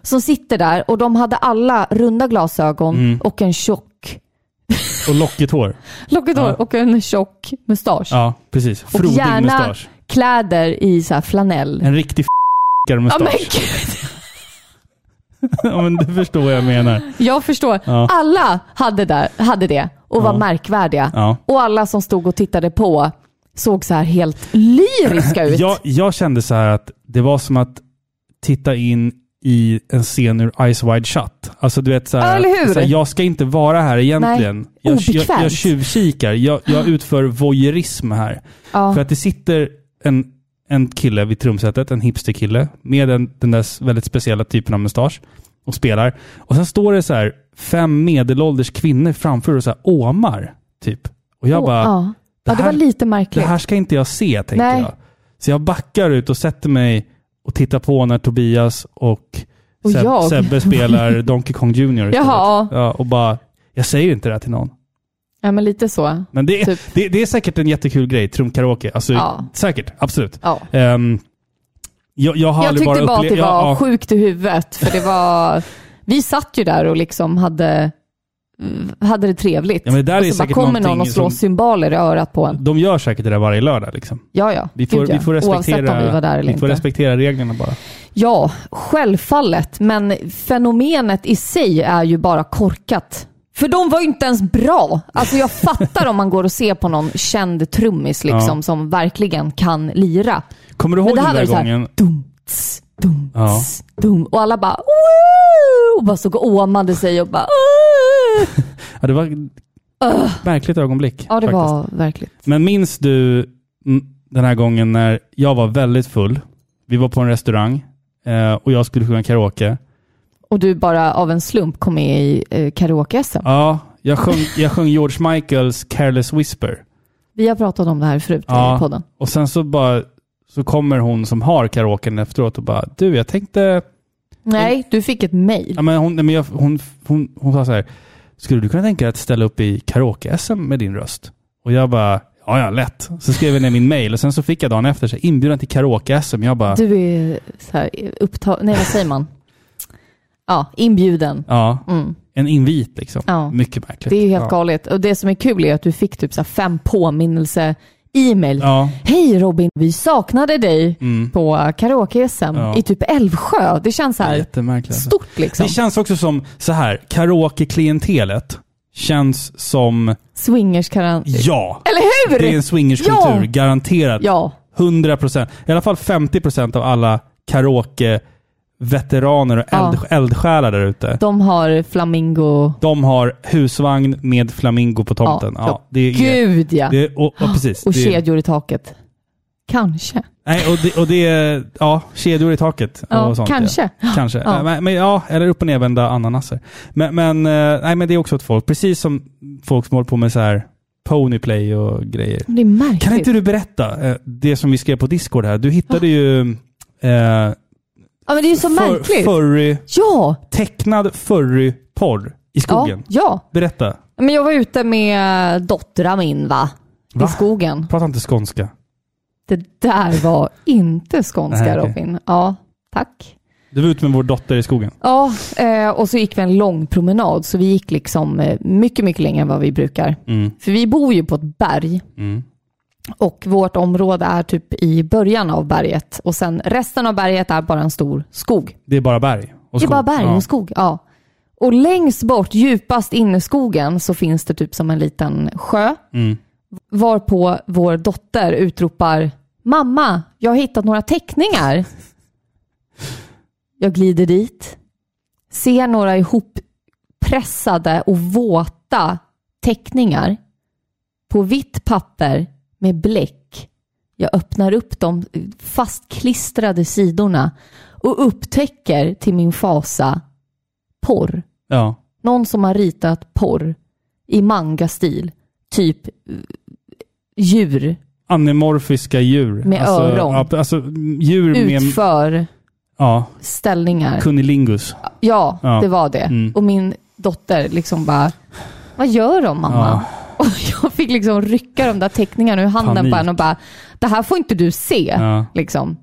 Som sitter där och de hade alla runda glasögon Mm. och en tjock, Och lockigt hår. lockigt hår Ja. och en tjock mustasch. Ja, precis. och Frodig gärna mustasch. kläder i så här flanell. En riktig Ja, men mustasch. gud. Ja, men du förstår vad jag menar. Jag förstår. Ja. Alla hade, där, hade det och var märkvärdiga. Ja. Och alla som stod och tittade på såg så här helt lyriska ut. Jag, jag kände så här att det var som att titta in i en scen ur Eyes Wide Shut. Alltså du vet Ja, såhär, eller hur? såhär, jag ska inte vara här egentligen. Nej, jag, jag, obekvämt. jag tjuvkikar. Jag, jag utför voyeurism här. Ja. För att det sitter en, en kille vid trumsetet, en hipsterkille, med en, den där s- väldigt speciella typen av mustasch och spelar. Och sen står det så här fem medelålders kvinnor framför och så här åmar, typ. Och jag Åh, bara, ja. det ja, det var här- lite märkligt. det här ska inte jag se, tänker Nej. jag. Så jag backar ut och sätter mig och tittar på när Tobias och, Och Seb- jag. Sebbe spelar Donkey Kong Jr. istället. Jaha. Ja, och bara, jag säger inte det här till någon. Ja, men lite så. Men det, är- det, det är säkert en jättekul grej, trumkaraoke. Alltså, Ja. Säkert, absolut. Ja. Ehm, jag, jag har Jag aldrig tyckte bara, att upple- det var ja, ja. sjukt i huvudet, för det var... Vi satt ju där och liksom hade, mm, hade det trevligt. Ja, men det där och är så bara säkert kommer någon någonting och slår som- cymbaler i örat på en. De gör säkert det där varje lördag. Liksom. Ja, ja. Vi, får, Gud, ja. vi, får Oavsett om respektera, vi var där eller vi får inte. respektera reglerna bara. Ja, självfallet. Men fenomenet i sig är ju bara korkat. För de var ju inte ens bra. Alltså jag fattar om man går och ser på någon känd trummis liksom, Ja. som verkligen kan lira. Kommer du Men ihåg det här den där var ju så här, gången? Dumts, dumts, Ja. dum. Och alla bara "Woo!" och bara stod och åmade sig och bara "Åh!" Ja, det var ett märkligt ögonblick. Ja, det faktiskt. var verkligt. Men minns du mm, den här gången när jag var väldigt full? Vi var på en restaurang eh, och jag skulle sjunga karaoke. Och du bara av en slump kom med i eh, karaoke-SM. Ja, jag sjöng, jag sjöng George Michaels Careless Whisper. Vi har pratat om det här förut i podden. Och sen så bara så kommer hon som har karaoken efteråt och bara du, jag tänkte... Nej, du fick ett mejl. Ja, men hon, nej, men jag, hon, hon, hon sa så här, skulle du kunna tänka dig att ställa upp i karaoke-SM med din röst? Och jag bara, ja ja, lätt. Så skrev jag ner min mail och sen så fick jag dagen efter så här, inbjudan till karaoke-SM. Jag bara, Du är så här upptagen, nej vad säger man? Ja, inbjuden. ja, Mm. en invit liksom. Ja. Mycket märkligt. Det är ju helt ja. galet. Och det som är kul är att du fick typ så här fem påminnelse e-mail. Ja. Mm. Hej Robin, vi saknade dig på karaoke-SM Ja. i typ Älvsjö. Det känns så här Jättemärkligt. alltså. stort liksom. Det känns också som så här, karaoke-klientelet känns som, Swingers-karantän. ja, Eller hur? det är en Ja. swingerskultur, garanterat. Ja. 100 procent. I alla fall 50 procent av alla karaoke-veteraner och eld, Ja. eldsjälar där ute. De, De har flamingo... har husvagn med flamingo på tomten. Ja, det är, Gud ja! Det, och, och precis. Och det, kedjor i taket. Kanske. Nej, och det, och det är ja, kedjor i taket. Ja, och sånt, kanske. Ja. Kanske. Ja. Nej, Men, men, ja, eller upp och nervända ananaser. Men, men, eh, nej, men det är också ett folk, precis som folk som håller på med så här ponyplay och grejer. Det är märkligt. Kan inte du berätta eh, det som vi skrev på Discord här? Du hittade ju eh, Ja men det är ju så märkligt. furry, Ja! tecknad furryporr i skogen. Ja, Berätta. ja. Men jag var ute med dottern min va? Va? I skogen. Prata inte skånska. Det där var inte skånska Nej, okej. Robin. Ja, tack. Du var ute med vår dotter i skogen. Ja, eh, och så gick vi en lång promenad. Så vi gick liksom eh, mycket, mycket längre än vad vi brukar. Mm. För vi bor ju på ett berg. Mm. Och vårt område är typ i början av berget. Och sen resten av berget är bara en stor skog. Det är bara berg och det är skog. bara berg Ja. och skog. Ja. Och längst bort, djupast in i skogen, så finns det typ som en liten sjö. Mm. Varpå vår dotter utropar Mamma, jag har hittat några teckningar. Jag glider dit, ser några ihoppressade och våta teckningar på vitt papper med bläck. Jag öppnar upp de fastklistrade sidorna och upptäcker till min fasa porr. Ja. Någon som har ritat porr i manga-stil. Typ eh, djur Animorfiska djur. Med öron. ja, Alltså djur med... utför Ja, ställningar. kunilingus. Ja, Ja. det var det. Mm. Och min dotter liksom bara, vad gör de mamma? Och jag fick liksom rycka de där teckningarna ur handen Panik. på henne och bara, det här får inte du se. Ja. Liksom.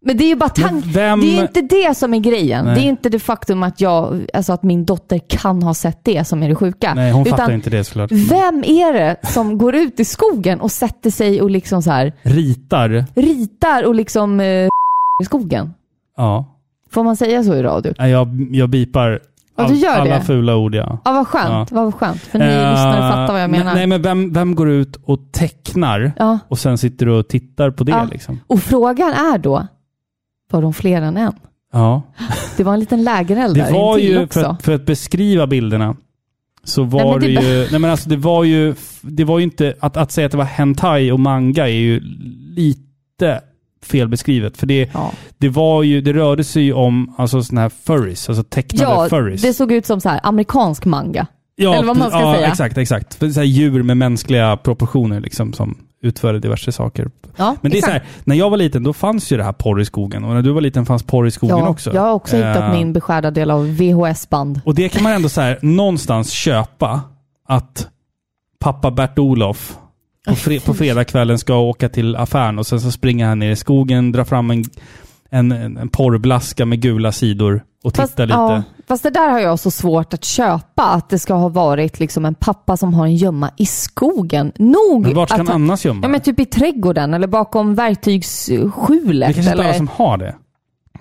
Men det är ju bara Men tanken. vem- Det är inte det som är grejen. Nej. Det är inte det faktum att, jag, alltså att min dotter kan ha sett det som är det sjuka. Nej, hon Utan fattar inte det såklart. Vem är det som går ut i skogen och sätter sig och liksom så här Ritar. ritar och liksom eh, i skogen? Ja. Får man säga så i radio? Nej, Jag, jag bipar Ja, du all- gör alla det. fula ord. Ja. Ja, vad skönt. Vad skönt. För ni Eh, lyssnare fattar vad jag men- menar. Nej, men vem, vem går ut och tecknar Ja. och sen sitter du och tittar på det? Ja. Liksom? Och frågan är då, var de fler än en. Ja. Det var en liten lägereld där Det var intill ju, också. för att, för att beskriva bilderna, så Nej, var men det det, ju... be- Nej men alltså det var ju... Det var ju inte... Att, att säga att det var hentai och manga är ju lite felbeskrivet. För det, det var ju... Det rörde sig ju om alltså sådana här furries, alltså tecknade ja, furries. det såg ut som så här amerikansk manga. Ja, Eller vad man ska ja, säga. exakt, exakt. För Så här djur med mänskliga proportioner liksom som utförde diverse saker. Ja, Men det är så exakt. här, när jag var liten då fanns ju det här porr i skogen och när du var liten fanns porr i skogen ja, också. Jag har också hittat Eh, min beskärda del av VHS-band. Och det kan man ändå så här, någonstans köpa att pappa Bert-Olof på, fre- på fredagskvällen ska åka till affären och sen så springer han ner i skogen, drar fram en, en, en en porrblaska med gula sidor och tittar lite. Ja, fast det där har jag så svårt att köpa, att det ska ha varit liksom en pappa som har en gömma i skogen. Nog Men vart ska att han annars gömma Ja, men typ i trädgården eller bakom verktygsskjulet. Det är kanske inte eller... alla som har det.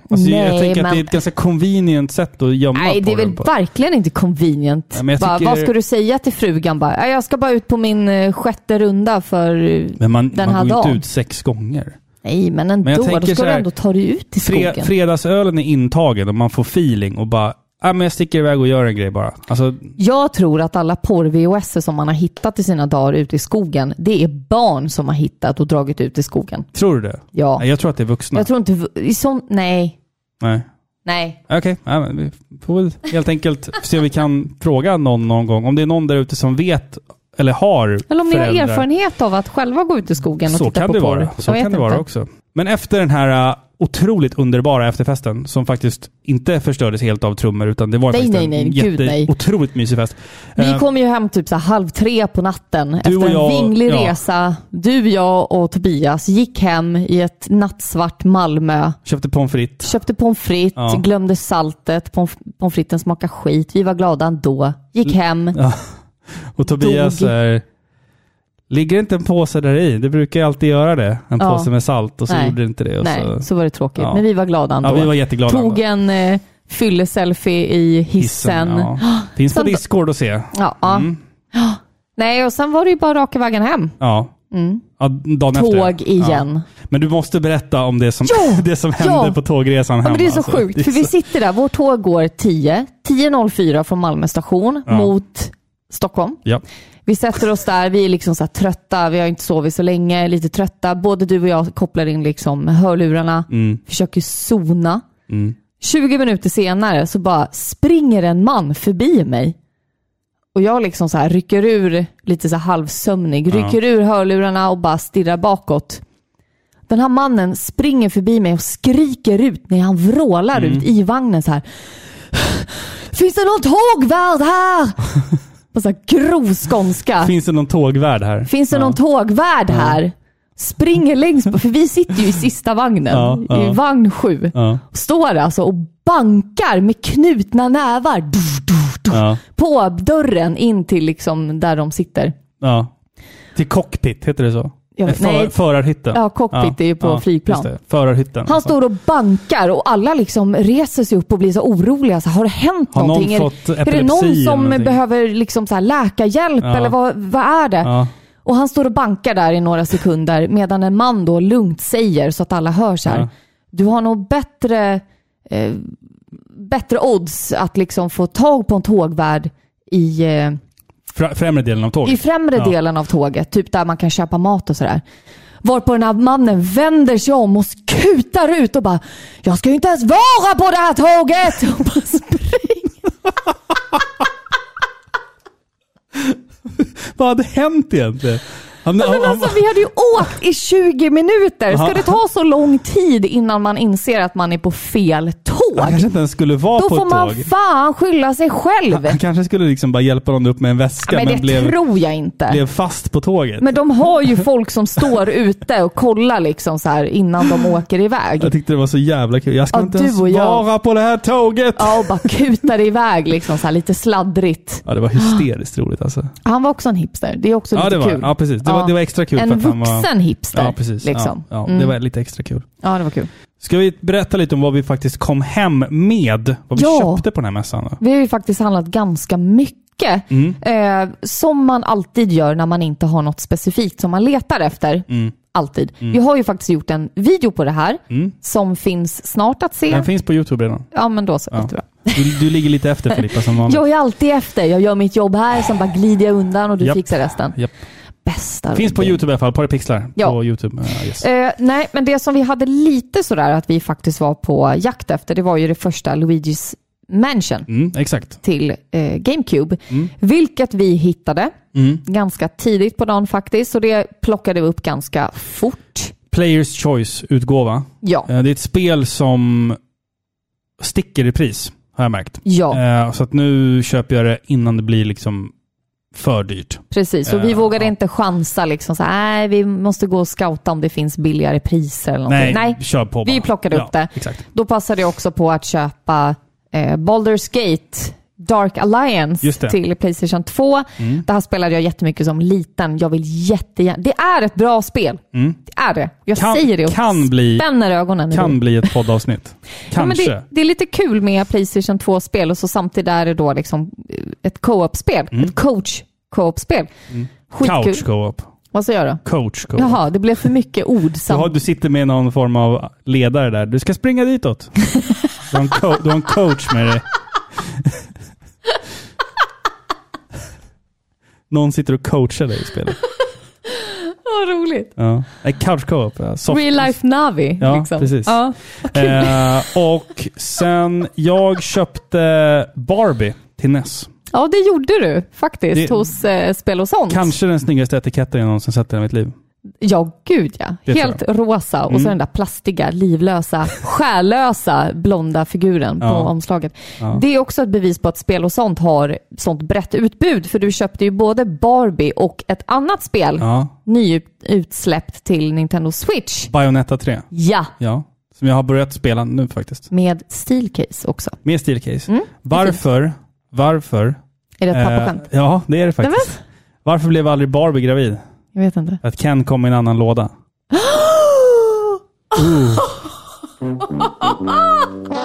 Alltså, jag Nej, tänker att det är men- ett ganska convenient sätt att gömma Nej, det är porren väl på. verkligen inte convenient. Ja, men jag bara, tycker- Vad ska du säga till frugan? Bara, "Ja, jag ska bara ut på min eh, sjätte runda för eh, Men man, den här man går ju dagen. inte ut sex gånger. Nej, men ändå. Men jag tänker då så ska du här, ändå ta dig ut i skogen. Fre, fredagsölen är intagen och man får feeling och bara, ah, men jag sticker iväg och gör en grej bara. Alltså, Jag tror att alla porr-VHS som man har hittat i sina dagar ute i skogen, det är barn som har hittat och dragit ut i skogen. tror du det? Ja. Nej, jag tror att det är vuxna. Jag tror inte... v- I sån, nej, Nej. nej. Okej, ja, men vi får väl helt enkelt se om vi kan fråga någon någon gång. Om det är någon där ute som vet eller har Eller om ni har föräldrar. erfarenhet av att själva gå ut i skogen och Så titta kan på det porr. vara. Så Jag vet kan det vara inte. också. Men efter den här äh, otroligt underbara efterfesten, som faktiskt inte förstördes helt av trummor, utan det var Nej, faktiskt nej, nej. en Gud, nej. otroligt mysig fest. Vi Eh, kom ju hem typ så här halv tre på natten efter en jag- vinglig ja. resa. Du, jag och Tobias gick hem i ett nattsvart Malmö. Köpte pommes frites. Köpte pommes frites, Ja. glömde saltet, pommes pommes fritesen smakade skit. Vi var glada ändå. Gick hem. Mm. Ja. Och Tobias eh, Dog. är... äh, Ligger inte en påse där i? Det brukar ju alltid göra det. En Ja. påse med salt och så Nej. gjorde det inte det. Och Nej, så... så... var det tråkigt. Ja. Men vi var glada ändå. Ja, vi var jätteglada Tog ändå. en eh, fylleselfie i hissen. ja. Finns på Sen- Discord att se. Ja. ja. Nej, och sen var det ju bara raka vägen hem. Ja. Mm. Ja, dagen Tåg efter. igen. Ja. Men du måste berätta om det som, Ja! det som hände Ja! på tågresan Ja, hem. men det är så alltså. sjukt, Det är för vi så- sitter där. Vårt tåg går 10, 10.04 från Malmö station Ja. mot Stockholm. Ja. Vi sätter oss där, vi är liksom så här trötta, vi har inte sovit så länge, lite trötta. Både du och jag kopplar in liksom hörlurarna, Mm. försöker zona. Mm. 20 minuter senare så bara springer en man förbi mig. Och jag liksom så här rycker ur, lite så här halvsömnig, Ja. rycker ur hörlurarna och bara stirrar bakåt. Den här mannen springer förbi mig och skriker ut när han vrålar ut i vagnen så här. Finns det någon tågvärd här? På så här grov skånska. Finns det någon tågvärd här? Finns det någon tågvärd här? Springer längst på, för vi sitter ju i sista vagnen, Ja, i ja. vagn sju. Ja. Står alltså och bankar med knutna nävar duff, duff, duff, Ja. på dörren in till liksom där de sitter. ja. Till cockpit, heter det så? Ja, Eh, nej. Förarhytten. Ja, cockpit är ju på flygplan. just det. Förarhytten. Han står och bankar och alla liksom reser sig upp och blir så oroliga. Så här, har det hänt Har någon någonting? Är- fått är, det epilepsi någon eller som någonting? behöver liksom så här läkarhjälp Ja. eller vad, vad är det? Ja. Och han står och bankar där i några sekunder medan en man då lugnt säger så att alla hör så här. Ja. Du har nog bättre, eh, bättre odds att liksom få tag på en tågvärd i, eh, Fra- Främre delen av tåget. i främre Ja. delen av tåget. Typ där man kan köpa mat och sådär. Varpå den här mannen vänder sig om och skutar ut och bara “Jag ska ju inte ens vara på det här tåget!” och bara springer. Vad hade hänt egentligen? Han, Ja, Men han- alltså, vi hade ju åkt i 20 minuter. Ska det ta så lång tid innan man inser att man är på fel han tåg? kanske inte ens skulle vara Då på får ett man tåg. fan skylla sig själv. Han kanske skulle liksom bara hjälpa någon upp med en väska Men men, det blev, tror jag inte. blev fast på tåget. Men de har ju folk som står ute och kollar liksom så här innan de åker iväg. Jag tyckte det var så jävla kul. Jag ska Ja, inte du ens och jag. vara på det här tåget! Ja, och bara kutar iväg liksom så här lite sladdrigt. Ja, det var hysteriskt roligt alltså. Han var också en hipster. Det är också Ja, lite det var, kul. ja, precis. Det, Var, det var extra kul. En för att han var, vuxen hipster. Ja, precis. Liksom. Ja, ja, Det Mm. var lite extra kul. Ja, det var kul. Ska vi berätta lite om vad vi faktiskt kom hem med? Vad vi Ja. köpte på den här mässan? Då? Vi har ju faktiskt handlat ganska mycket. Mm. Eh, som man alltid gör när man inte har något specifikt som man letar efter. Mm. alltid. Mm. Vi har ju faktiskt gjort en video på det här Mm. som finns snart att se. Den finns på Youtube redan. Ja, men då så. Ja. Du, du ligger lite efter Filippa som vanligt. Jag är alltid efter. Jag gör mitt jobb här, sen bara glider jag undan och du Japp. fixar resten. Japp. Bästa Finns på Robin. Youtube i alla fall. Par pixlar Ja. på Youtube. Eh, yes. Eh, nej, men det som vi hade lite sådär att vi faktiskt var på jakt efter, det var ju det första Luigi's Mansion Mm, exakt. till eh, GameCube. Vilket vi hittade Mm. ganska tidigt på dagen faktiskt, så det plockade vi upp ganska fort. Players Choice-utgåva. Ja. Eh, Det är ett spel som sticker i pris, har jag märkt. Ja. Eh, Så att nu köper jag det innan det blir liksom för dyrt. Precis, och vi Eh, vågade inte chansa liksom så här, nej vi måste gå och scouta om det finns billigare priser eller Nej, någonting. kör på vi bara. plockade Ja, upp det. exakt. Då passade jag också på att köpa eh, Baldur's Gate Dark Just Alliance det. till Playstation 2. Mm. Det här spelade jag jättemycket som liten. Jag vill jättegärna... Det är ett bra spel. Mm. Det är det. Jag Kan- säger det och kan bli- spänner ögonen. i det. Kan bli ett poddavsnitt. Ja, men Kanske. det, det är lite kul med Playstation 2-spel och så samtidigt är det då liksom ett co-op-spel. Ett coach co-op-spel. Skitkul. Mm. Couch co-op. Vad säger du? Coach co-op. Jaha, det blev för mycket ord. Du, har, Sam- du sitter med någon form av ledare där. Du ska springa ditåt. Du har en, co- du har en coach med dig. Någon sitter och coachar dig i spelet. Vad roligt. Ja. Nej, couch co-op. ja. Soft- Real life Navi. Ja, liksom. precis. Ja, vad kul. Eh, och sen, jag köpte Barbie till NES. ja, det gjorde du faktiskt Det- hos eh, Spel och sånt. Kanske den snyggaste etiketten jag någonsin sett i hela mitt liv. Ja, gud ja. Det Helt tror rosa och så Mm. den där plastiga, livlösa, själlösa blonda figuren på Ja. omslaget. Ja. Det är också ett bevis på att spel och sånt har sånt brett utbud. För du köpte ju både Barbie och ett annat spel Ja. nyutsläppt till Nintendo Switch. Bayonetta 3. Ja, Ja. Som jag har börjat spela nu faktiskt. med Steelcase också. Med Steelcase. Mm, varför, varför... Är det ett pappaskämt? Eh, ja, det är det faktiskt. Varför blev aldrig Barbie gravid? Jag vet inte. Att Ken kom i en annan låda. Ooh.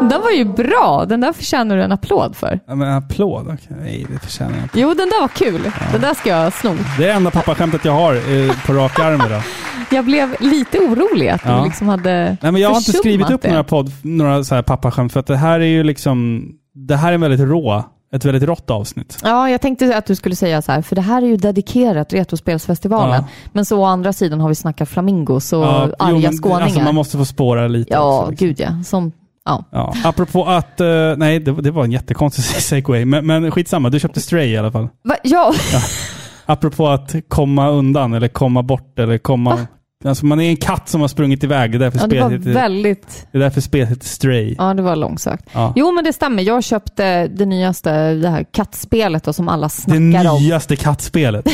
Den var ju bra. Den där förtjänar du en applåd för. Ja, men applåd? Okej, Nej, det förtjänar jag inte. Jo, den där var kul. Den där ska jag sno. Det är det enda pappaskämtet jag har eh, på rak arm idag. Jag blev lite orolig att Ja. du liksom hade Nej, men jag har inte försummat skrivit upp det. några, podd, några så här pappaskämt för att det här är ju liksom... Det här är en väldigt rå, ett väldigt rått avsnitt. Ja, jag tänkte att du skulle säga så här, för det här är ju dedikerat Retrospelsfestivalen. Men så å andra sidan har vi snackat flamingo, så Ja, jo, arga men skåningar. Alltså, man måste få spåra lite ja, också, liksom. gud ja. Som, ja. Ja, apropå att... eh, nej, det, det var en jättekonstig segway. Men, men skitsamma, du köpte Stray i alla fall. Va? ja. Apropå att komma undan eller komma bort eller komma... Alltså man är en katt som har sprungit iväg. Det är därför ja, det spelet var heter- väldigt... det är därför spelet heter Stray. Ja, det var långsökt. Ja. Jo, men det stämmer. Jag köpte det nyaste, det här kattspelet då, som alla det snackar om. nyaste kattspelet.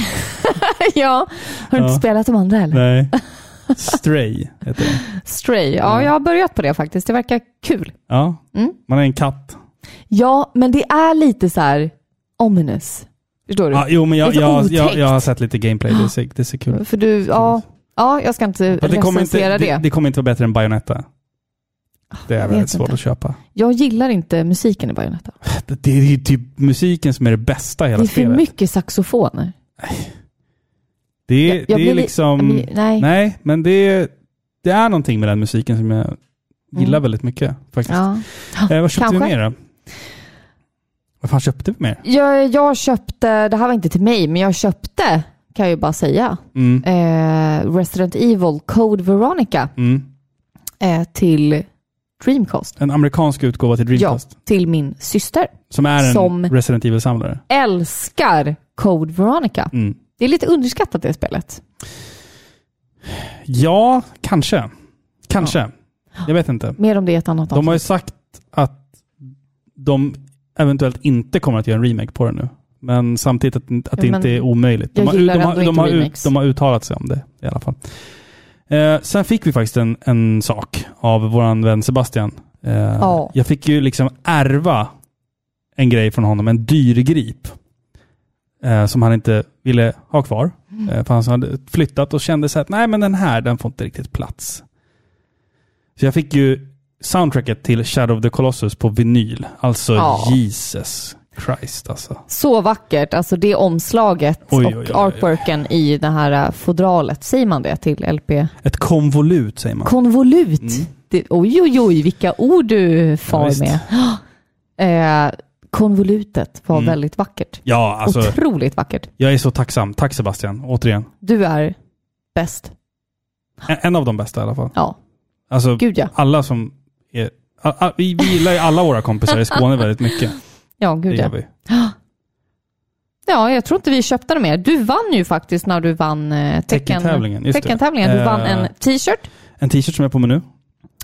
ja. Har du Ja. inte spelat de andra heller? Nej. Stray heter det. Stray. Ja, jag har börjat på det faktiskt. Det verkar kul. Ja, Mm. man är en katt. Ja, men det är lite så här ominous. Förstår du? Ja, jo, men jag, Lite jag, jag, otäckt. jag har sett lite gameplay. Det ser, det ser kul ut. För du, ja, ja, jag ska inte Men Det kommer, recensera inte, det. det, det kommer inte vara bättre än Bayonetta. Det är vet väldigt svårt inte. att köpa. Jag gillar inte musiken i Bayonetta. Det, det är ju typ musiken som är det bästa i Det hela är för spelet. mycket saxofoner. Det, Jag- jag blir det är li- jag liksom... blir- nej. men det, det är någonting med den musiken som jag gillar Mm. väldigt mycket faktiskt. Ja. Eh, vad köpte Kanske. vi mer då? Vad fan köpte vi mer? Jag, jag köpte, det här var inte till mig, men jag köpte, kan jag ju bara säga, Mm. eh, Resident Evil Code Veronica Mm. eh, till Dreamcast. En amerikansk utgåva till Dreamcast. Ja, till min syster. Som är en Som- Resident Evil-samlare. Älskar Code Veronica. Mm. Det är lite underskattat det spelet. Ja, kanske. Kanske. Jag vet inte. Mer om det i ett annat De avsnitt. har ju sagt att de eventuellt inte kommer att göra en remake på det nu. Men samtidigt att, att det Ja, men inte är omöjligt. De jag har, gillar de, har, ändå de, inte har ut, remakes. de har uttalat sig om det i alla fall. Eh, sen fick vi faktiskt en, en sak av vår vän Sebastian. Eh, Ja. Jag fick ju liksom ärva en grej från honom, en dyrgrip. Eh, som han inte ville ha kvar. Mm. Eh, för han hade flyttat och kände så här att nej men den här, den får inte riktigt plats. Så jag fick ju soundtracket till Shadow of the Colossus på vinyl. Alltså Ja. Jesus Christ alltså. Så vackert, alltså det omslaget Oj, oj, och oj, oj. artworken i det här eh, fodralet. Säger man det till LP? Ett konvolut säger man. Konvolut! Mm. Det, oj, oj, oj, vilka ord du Ja, far visst. med. Eh, konvolutet var Mm. väldigt vackert. Ja, alltså. Otroligt vackert. Jag är så tacksam. Tack Sebastian, återigen. Du är bäst. En, en av de bästa i alla fall. Ja. Alltså, Gud, ja. alla som är... a- a- vi, vi gillar ju alla våra kompisar i Skåne väldigt mycket. Ja, gud det ja. gör vi. Ja, jag tror inte vi köpte dem mer. Du vann ju faktiskt när du vann eh, tecken- Teckentävlingen, just det. teckentävlingen. Du Eh, vann en t-shirt. En t-shirt som är på mig nu.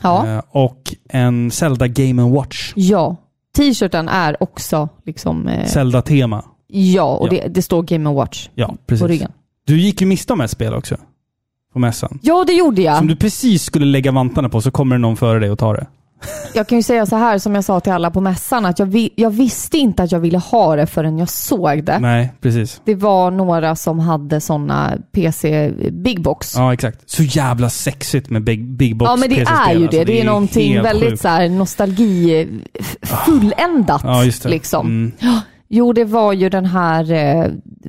Ja. Eh, Och en Zelda Game Watch. ja. T-shirten är också liksom... eh, Zelda-tema. Ja, och Ja. Det, det står Game Watch Ja, precis. på ryggen. Du gick ju miste om ett spel också. På mässan. Ja, det gjorde jag. Som du precis skulle lägga vantarna på så kommer det någon före dig och tar det. Jag kan ju säga så här som jag sa till alla på mässan, att jag, vi, jag visste inte att jag ville ha det förrän jag såg det. Nej, precis. Det var några som hade sådana PC Big Box. Ja, exakt. Så jävla sexigt med Big, big Box ja men det PC-spel, är ju det. alltså. det, är någonting helt väldigt sjukt. så Ah. här, nostalgi f- fulländat. Ja, just det. Liksom. Mm. Ja, Jo, det var ju den här eh,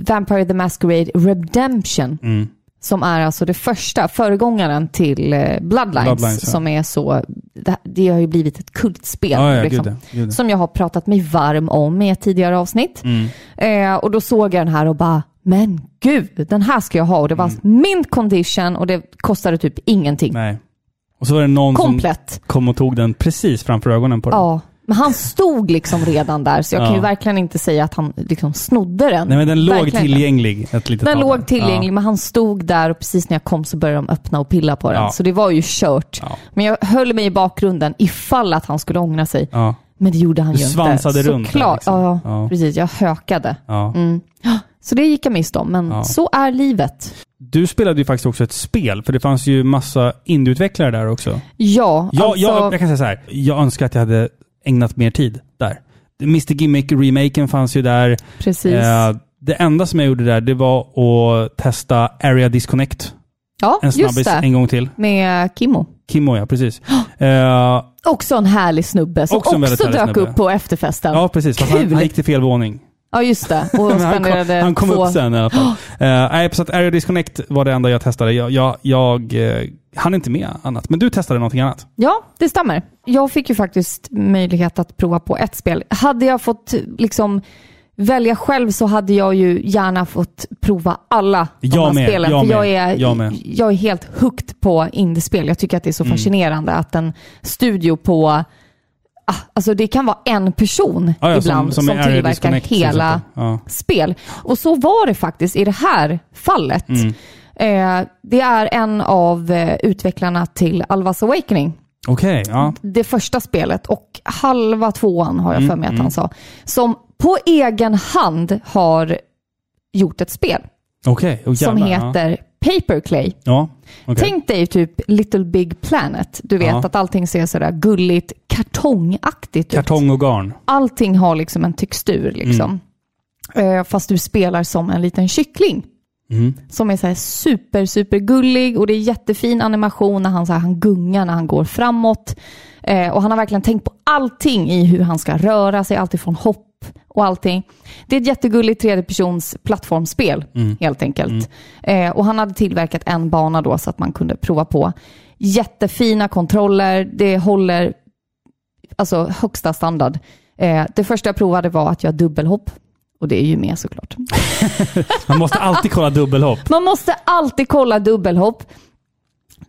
Vampire the Masquerade Redemption. Mm. Som är alltså det första, föregångaren till eh, Bloodlines. Bloodlines, ja. Som är så, det, det har ju blivit ett kultspel. Ja, ja, liksom, gud ja, gud ja. Som jag har pratat mig varm om i ett tidigare avsnitt. Mm. Eh, och då såg jag den här och bara, men gud, den här ska jag ha. Och det var Mm. mint condition och det kostade typ ingenting. Nej. Och så var det någon Komplett. som kom och tog den precis framför ögonen på dig. Alltså, Ja, men han stod liksom redan där så jag kan Ja. ju verkligen inte säga att han liksom snodde den. Nej men den låg Verkligen inte. tillgänglig ett litet Den tag. låg tillgänglig, men han stod där och precis när jag kom så började de öppna och pilla på den. Ja. Så det var ju kört. Men jag höll mig i bakgrunden ifall att han skulle ångra sig. Ja. Men det gjorde han Du ju svansade inte. runt den, Såklart. liksom. Ja, Ja. precis. Jag hökade. Ja. Mm. Så det gick jag miste om, men Ja. så är livet. Du spelade ju faktiskt också ett spel, för det fanns ju massa indieutvecklare där också. Ja, Jag, alltså... jag, jag kan säga så här. jag önskar att jag hade ägnat mer tid där. Mr Gimmick-remaken fanns ju där. Precis. Eh, det enda som jag gjorde där, det var att testa Area Disconnect. ja, en just snabbis det. en gång till. Med Kimmo. Kimmo ja, precis. Eh, Också en härlig snubbe som Också också, en väldigt härlig dök snubbe. upp på efterfesten. ja, precis. Fast Han, Kul! han gick till fel våning. Ja, just det. Och Men han kom, spenderade han kom två... upp sen i alla fall. Eh, nej, så att Area Disconnect var det enda jag testade. Jag, jag, jag eh, hann inte med annat. Men du testade någonting annat. Ja, det stämmer. Jag fick ju faktiskt möjlighet att prova på ett spel. Hade jag fått liksom välja själv så hade jag ju gärna fått prova alla de Jag här med, spelen. jag för jag, med, är, jag med. Mm. jag är helt hooked på indiespel. Jag tycker att det är så fascinerande att en studio på ah, Alltså det kan vara en person Ja, ja, ibland som, i Area tillverkar Disconnect, hela så att spel. Och så var det faktiskt i det här fallet. Mm. Eh, det är en av eh, utvecklarna till Alvas Awakening säga. Okej, ja. det första spelet och halva tvåan har jag Mm, för mig att mm. han sa. Som på egen hand har gjort ett spel Okej, oh, som jävlar, ja. heter Paper Clay. Ja, okej. Tänk dig typ Little Big Planet. Du vet Ja. att allting ser sådär gulligt kartongaktigt ut. Kartong och garn. Allting har liksom en textur liksom. Eh, Fast du spelar som en liten kyckling Mm. som är så här super, super gullig och det är jättefin animation när han, så här, han gungar när han går framåt. Eh, och han har verkligen tänkt på allting i hur han ska röra sig, alltifrån hopp och allting. Det är ett jättegulligt tredjepersons plattformsspel Mm. helt enkelt. Eh, och han hade tillverkat en bana då så att man kunde prova på. Jättefina kontroller, det håller alltså högsta standard. Eh, det första jag provade var att göra dubbelhopp. Och det är ju med såklart. Man måste alltid kolla dubbelhopp. Man måste alltid kolla dubbelhopp.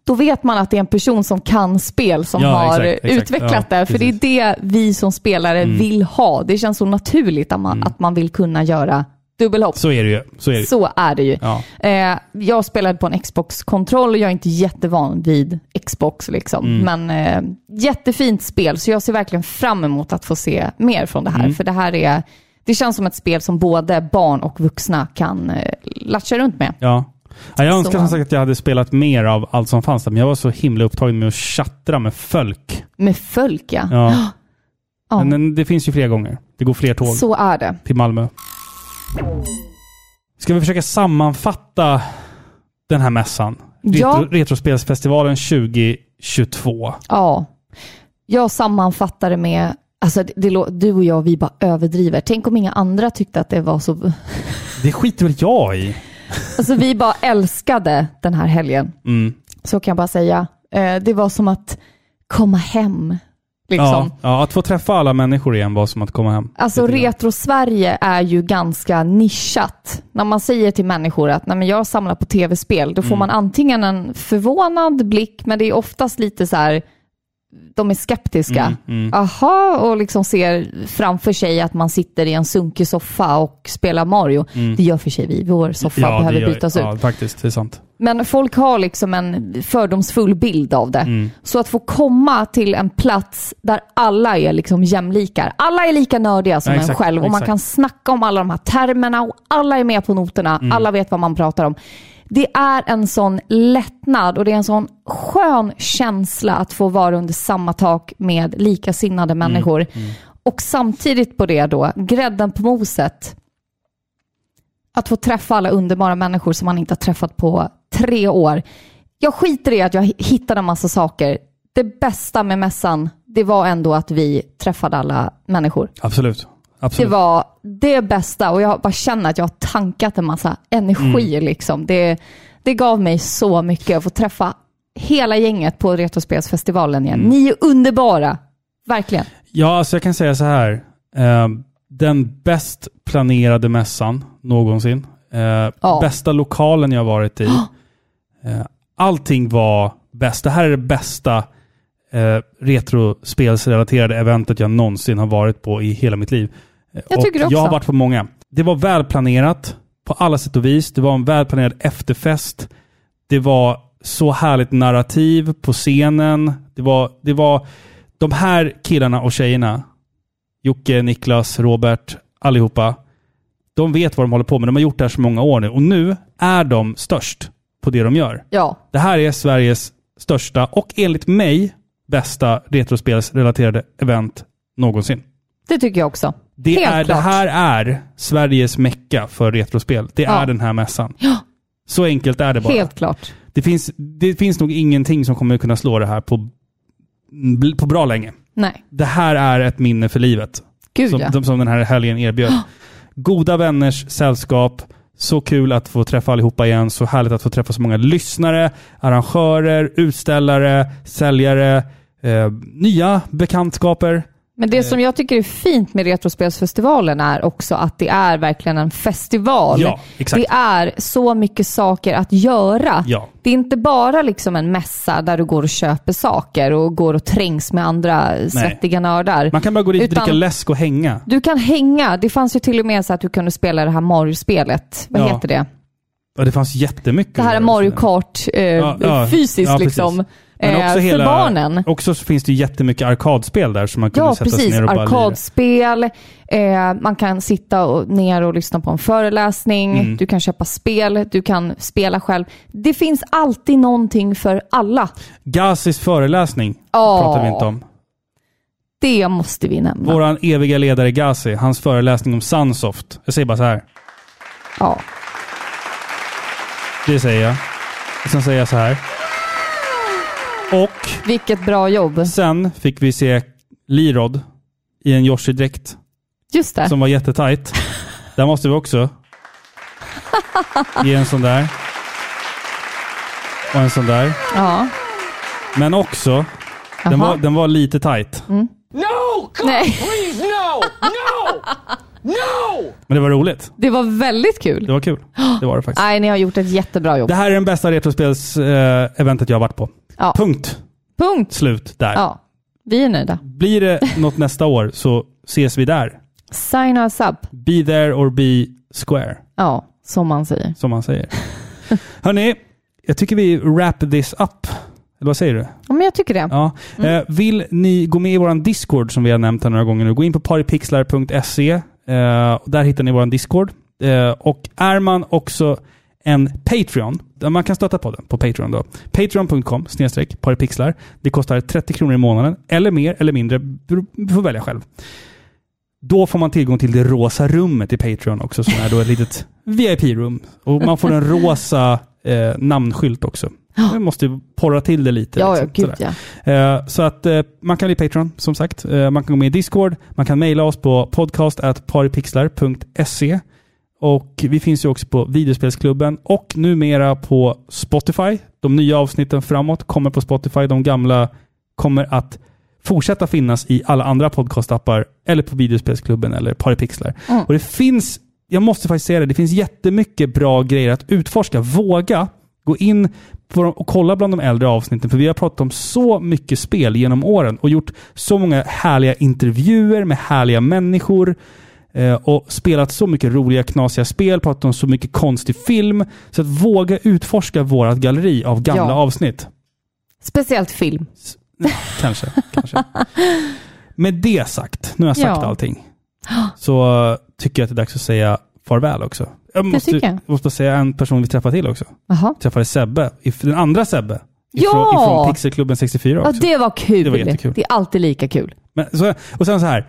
Då vet man att det är en person som kan spel som Ja, har exakt, exakt. utvecklat Ja, det. För precis. det är det vi som spelare Mm. vill ha. Det känns så naturligt att man, att man vill kunna göra dubbelhopp. Så är det ju. Så är det ju. Så är det ju. Ja. Eh, jag spelade på en Xbox-kontroll och jag är inte jättevan vid Xbox. Liksom. Mm. Men eh, jättefint spel, så jag ser verkligen fram emot att få se mer från det här. Mm. För det här är, det känns som ett spel som både barn och vuxna kan eh, latcha runt med. Ja. Ja, jag önskar Så. som sagt att jag hade spelat mer av allt som fanns där, men jag var så himla upptagen med att tjattra med folk. Med folk, ja. Ja. Ja. Men, men det finns ju fler gånger. Det går fler tåg Så är det. till Malmö. Ska vi försöka sammanfatta den här mässan? Retro, Ja. Retrospelsfestivalen 2022. Ja. Jag sammanfattar det med Alltså, det, det, lå- du och jag, vi bara överdriver. Tänk om inga andra tyckte att det var så... Det skiter väl jag i? Alltså vi bara älskade den här helgen. Mm. Så kan jag bara säga. Eh, det var som att komma hem. Liksom. Ja, ja, att få träffa alla människor igen var som att komma hem. Alltså retro-Sverige är ju ganska nischat. När man säger till människor att Nej, men jag samlar på tv-spel, då får Mm. man antingen en förvånad blick, men det är oftast lite så här, de är skeptiska. Mm, mm. Aha, och liksom ser framför sig att man sitter i en sunkig soffa och spelar Mario. Mm. Det gör för sig vi, vår soffa det behöver gör- bytas ut. Ja, faktiskt. Det är sant. Men folk har liksom en fördomsfull bild av det. Mm. Så att få komma till en plats där alla är liksom jämlikar. Alla är lika nördiga som Ja, en exakt, själv och man exakt. kan snacka om alla de här termerna och alla är med på noterna. Mm. Alla vet vad man pratar om. Det är en sån lättnad och det är en sån skön känsla att få vara under samma tak med likasinnade Mm. människor. Och samtidigt på det då, grädden på moset. Att få träffa alla underbara människor som man inte har träffat på tre år. Jag skiter i att jag hittade en massa saker. Det bästa med mässan, det var ändå att vi träffade alla människor. Absolut. Absolut. Det var det bästa och jag bara känner att jag har tankat en massa energi. Mm. Liksom. Det, det gav mig så mycket att få träffa hela gänget på Retrospelsfestivalen igen. Mm. Ni är underbara, verkligen. Ja, alltså jag kan säga så här. Eh, den bäst planerade mässan någonsin. Eh, Bästa lokalen jag varit i. Eh, allting var bäst. Det här är det bästa eh, retrospelsrelaterade eventet jag någonsin har varit på i hela mitt liv. Eh, Jag och tycker det också. Jag har varit på många. Det var välplanerat på alla sätt och vis. Det var en välplanerad efterfest. Det var så härligt narrativ på scenen. Det var, det var de här killarna och tjejerna, Jocke, Niklas, Robert, allihopa, de vet vad de håller på med. De har gjort det här så många år nu och nu är de störst på det de gör. Ja. Det här är Sveriges största och enligt mig bästa retrospelsrelaterade event någonsin. Det tycker jag också. Det, Helt är, det klart. här är Sveriges mecka för retrospel. Det Ja. är den här mässan. Så enkelt är det bara. Helt klart. Det finns, det finns nog ingenting som kommer kunna slå det här på, på bra länge. Nej. Det här är ett minne för livet. Gud, som, ja. Ah. de- som den här helgen erbjöd. Goda vänners sällskap. Så kul att få träffa allihopa igen. Så härligt att få träffa så många lyssnare, arrangörer, utställare, säljare, eh, nya bekantskaper. Men Eh. det som jag tycker är fint med Retrospelsfestivalen är också att det är verkligen en festival. Ja, exakt. Det är så mycket saker att göra. Ja. Det är inte bara liksom en mässa där du går och köper saker och går och trängs med andra svettiga nördar. Man kan bara gå dit och Utan dricka läsk och hänga. Du kan hänga. Det fanns ju till och med så att du kunde spela det här Mario-spelet. Vad Ja. heter det? Ja, det fanns jättemycket. Det här är Mario Kart eh, fysiskt ja, precis. liksom. Men Eh, också för hela- barnen. Också så finns det ju jättemycket arkadspel där som man kunde Ja, sätta sig precis. ner och bara lira. Arkadspel, eh, man kan sitta och, ner och lyssna på en föreläsning, Mm. du kan köpa spel, du kan spela själv. Det finns alltid någonting för alla. Gazis föreläsning Ja. pratar vi inte om. Det måste vi nämna. Våran eviga ledare Gazi, hans föreläsning om Sunsoft. Jag säger bara så här. Ja. Det säger jag. Och sen säger jag så här. Och... Vilket bra jobb. Sen fick vi se Lirod i en Yoshi-dräkt. Just det. Som var jättetajt. Där måste vi också ge en sån där. Och en sån där. Ja. Men också, den Jaha. Mm. var, den var lite tajt. No! Nej. Men det var roligt. Det var väldigt kul. Det var kul. Det var det faktiskt. Nej, ni har gjort ett jättebra jobb. Det här är den bästa retrospels-eventet jag har varit på. Ja. Punkt. Punkt. Slut där. Ja. Vi är nöjda. Blir det något nästa år så ses vi där. Sign us up. Be there or be square. Ja, som man säger. Som man säger. Hörni, jag tycker vi wrap this up. Eller vad säger du? Ja, men jag tycker det. Ja. Eh, vill ni gå med i vår Discord som vi har nämnt här några gånger nu, gå in på paripixlar.se. Eh, och där hittar ni vår Discord. Eh, och är man också en Patreon, där man kan stötta podden på Patreon då. Patreon.com snedstreck paripixlar. Det kostar 30 kronor i månaden, eller mer eller mindre. bero- Du får välja själv. Då får man tillgång till det rosa rummet i Patreon också, som är då ett litet VIP-rum. Och man får en rosa eh, namnskylt också. Ja. Vi måste ju porra till det lite. Ja, liksom, ja, gud sådär. ja. Eh, Så att eh, man kan bli Patreon, som sagt. Eh, Man kan gå med i Discord. Man kan mejla oss på podcast.paripixlar.se. Och vi finns ju också på Videospelsklubben och numera på Spotify. De nya avsnitten framåt kommer på Spotify. De gamla kommer att fortsätta finnas i alla andra podcastappar eller på Videospelsklubben eller Paripixlar. Mm. Och det finns, jag måste faktiskt säga det, det finns jättemycket bra grejer att utforska. Våga gå in på dem och kolla bland de äldre avsnitten, för vi har pratat om så mycket spel genom åren och gjort så många härliga intervjuer med härliga människor eh, och spelat så mycket roliga, knasiga spel, pratat om så mycket konstig film. Så att våga utforska vårt galleri av gamla Ja. avsnitt. Speciellt film. Kanske, kanske. Med det sagt, nu har jag sagt Ja. allting, så eh, tycker jag att det är dags att säga farväl också. Jag Det måste, tycker jag. jag måste säga en person vi träffade till också. Jaha. Träffade Sebbe, if- den andra Sebbe. Ifrån, Ja! ifrån Pixelklubben 64 också. Ja, det var kul. Det var jättekul. Det är alltid lika kul. Men, så, och sen så här.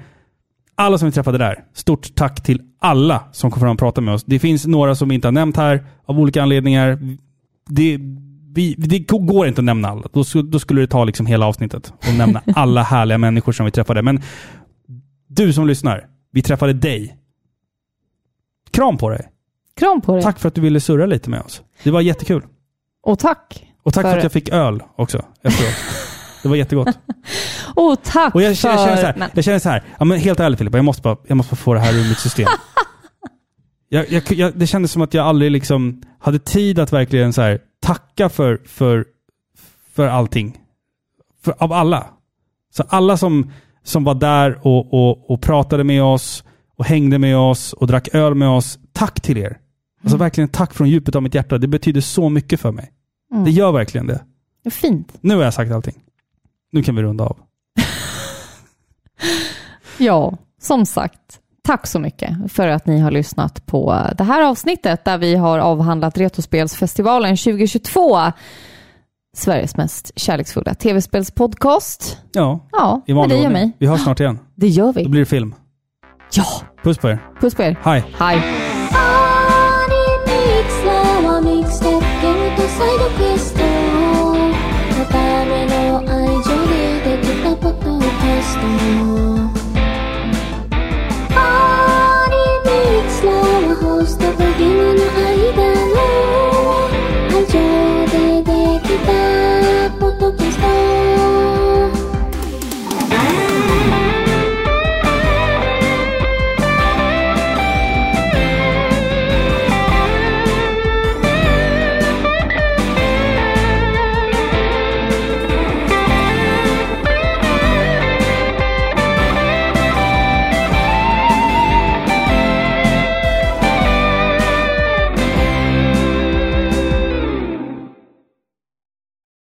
Alla som vi träffade där, stort tack till alla som kom fram och pratade med oss. Det finns några som vi inte har nämnt här av olika anledningar. Det, vi, det går inte att nämna alla. Då, sku- då skulle det ta liksom hela avsnittet och nämna alla härliga människor som vi träffade. Men du som lyssnar, vi träffade dig. Kram på dig! Kram på dig! Tack för att du ville surra lite med oss. Det var jättekul. Och tack. Och tack för, För- att jag fick öl också efteråt. det var jättegott. Och tack Och jag, jag, känner så för... här, jag känner så här, ja, men helt ärligt Filippa, jag måste bara, jag måste bara få det här ur mitt system. jag, jag, jag, det kändes som att jag aldrig liksom hade tid att verkligen så här, tacka för, för, för allting. För, av alla. Så alla som, som var där och, och, och pratade med oss och hängde med oss och drack öl med oss. Tack till er. Alltså verkligen tack från djupet av mitt hjärta. Det betyder så mycket för mig. Mm. Det gör verkligen det. Men... Fint. Nu har jag sagt allting. Nu kan vi runda av. Ja, som sagt. Tack så mycket för att ni har lyssnat på det här avsnittet där vi har avhandlat Retrospelsfestivalen 2022. Sveriges mest kärleksfulla tv-spelspodcast. Ja, Ja, i med vanlig dig och ordning. mig. Vi hörs snart igen. Det gör vi. Då blir det film. Ja! Puss på er. Puss på er. Hej. Hej.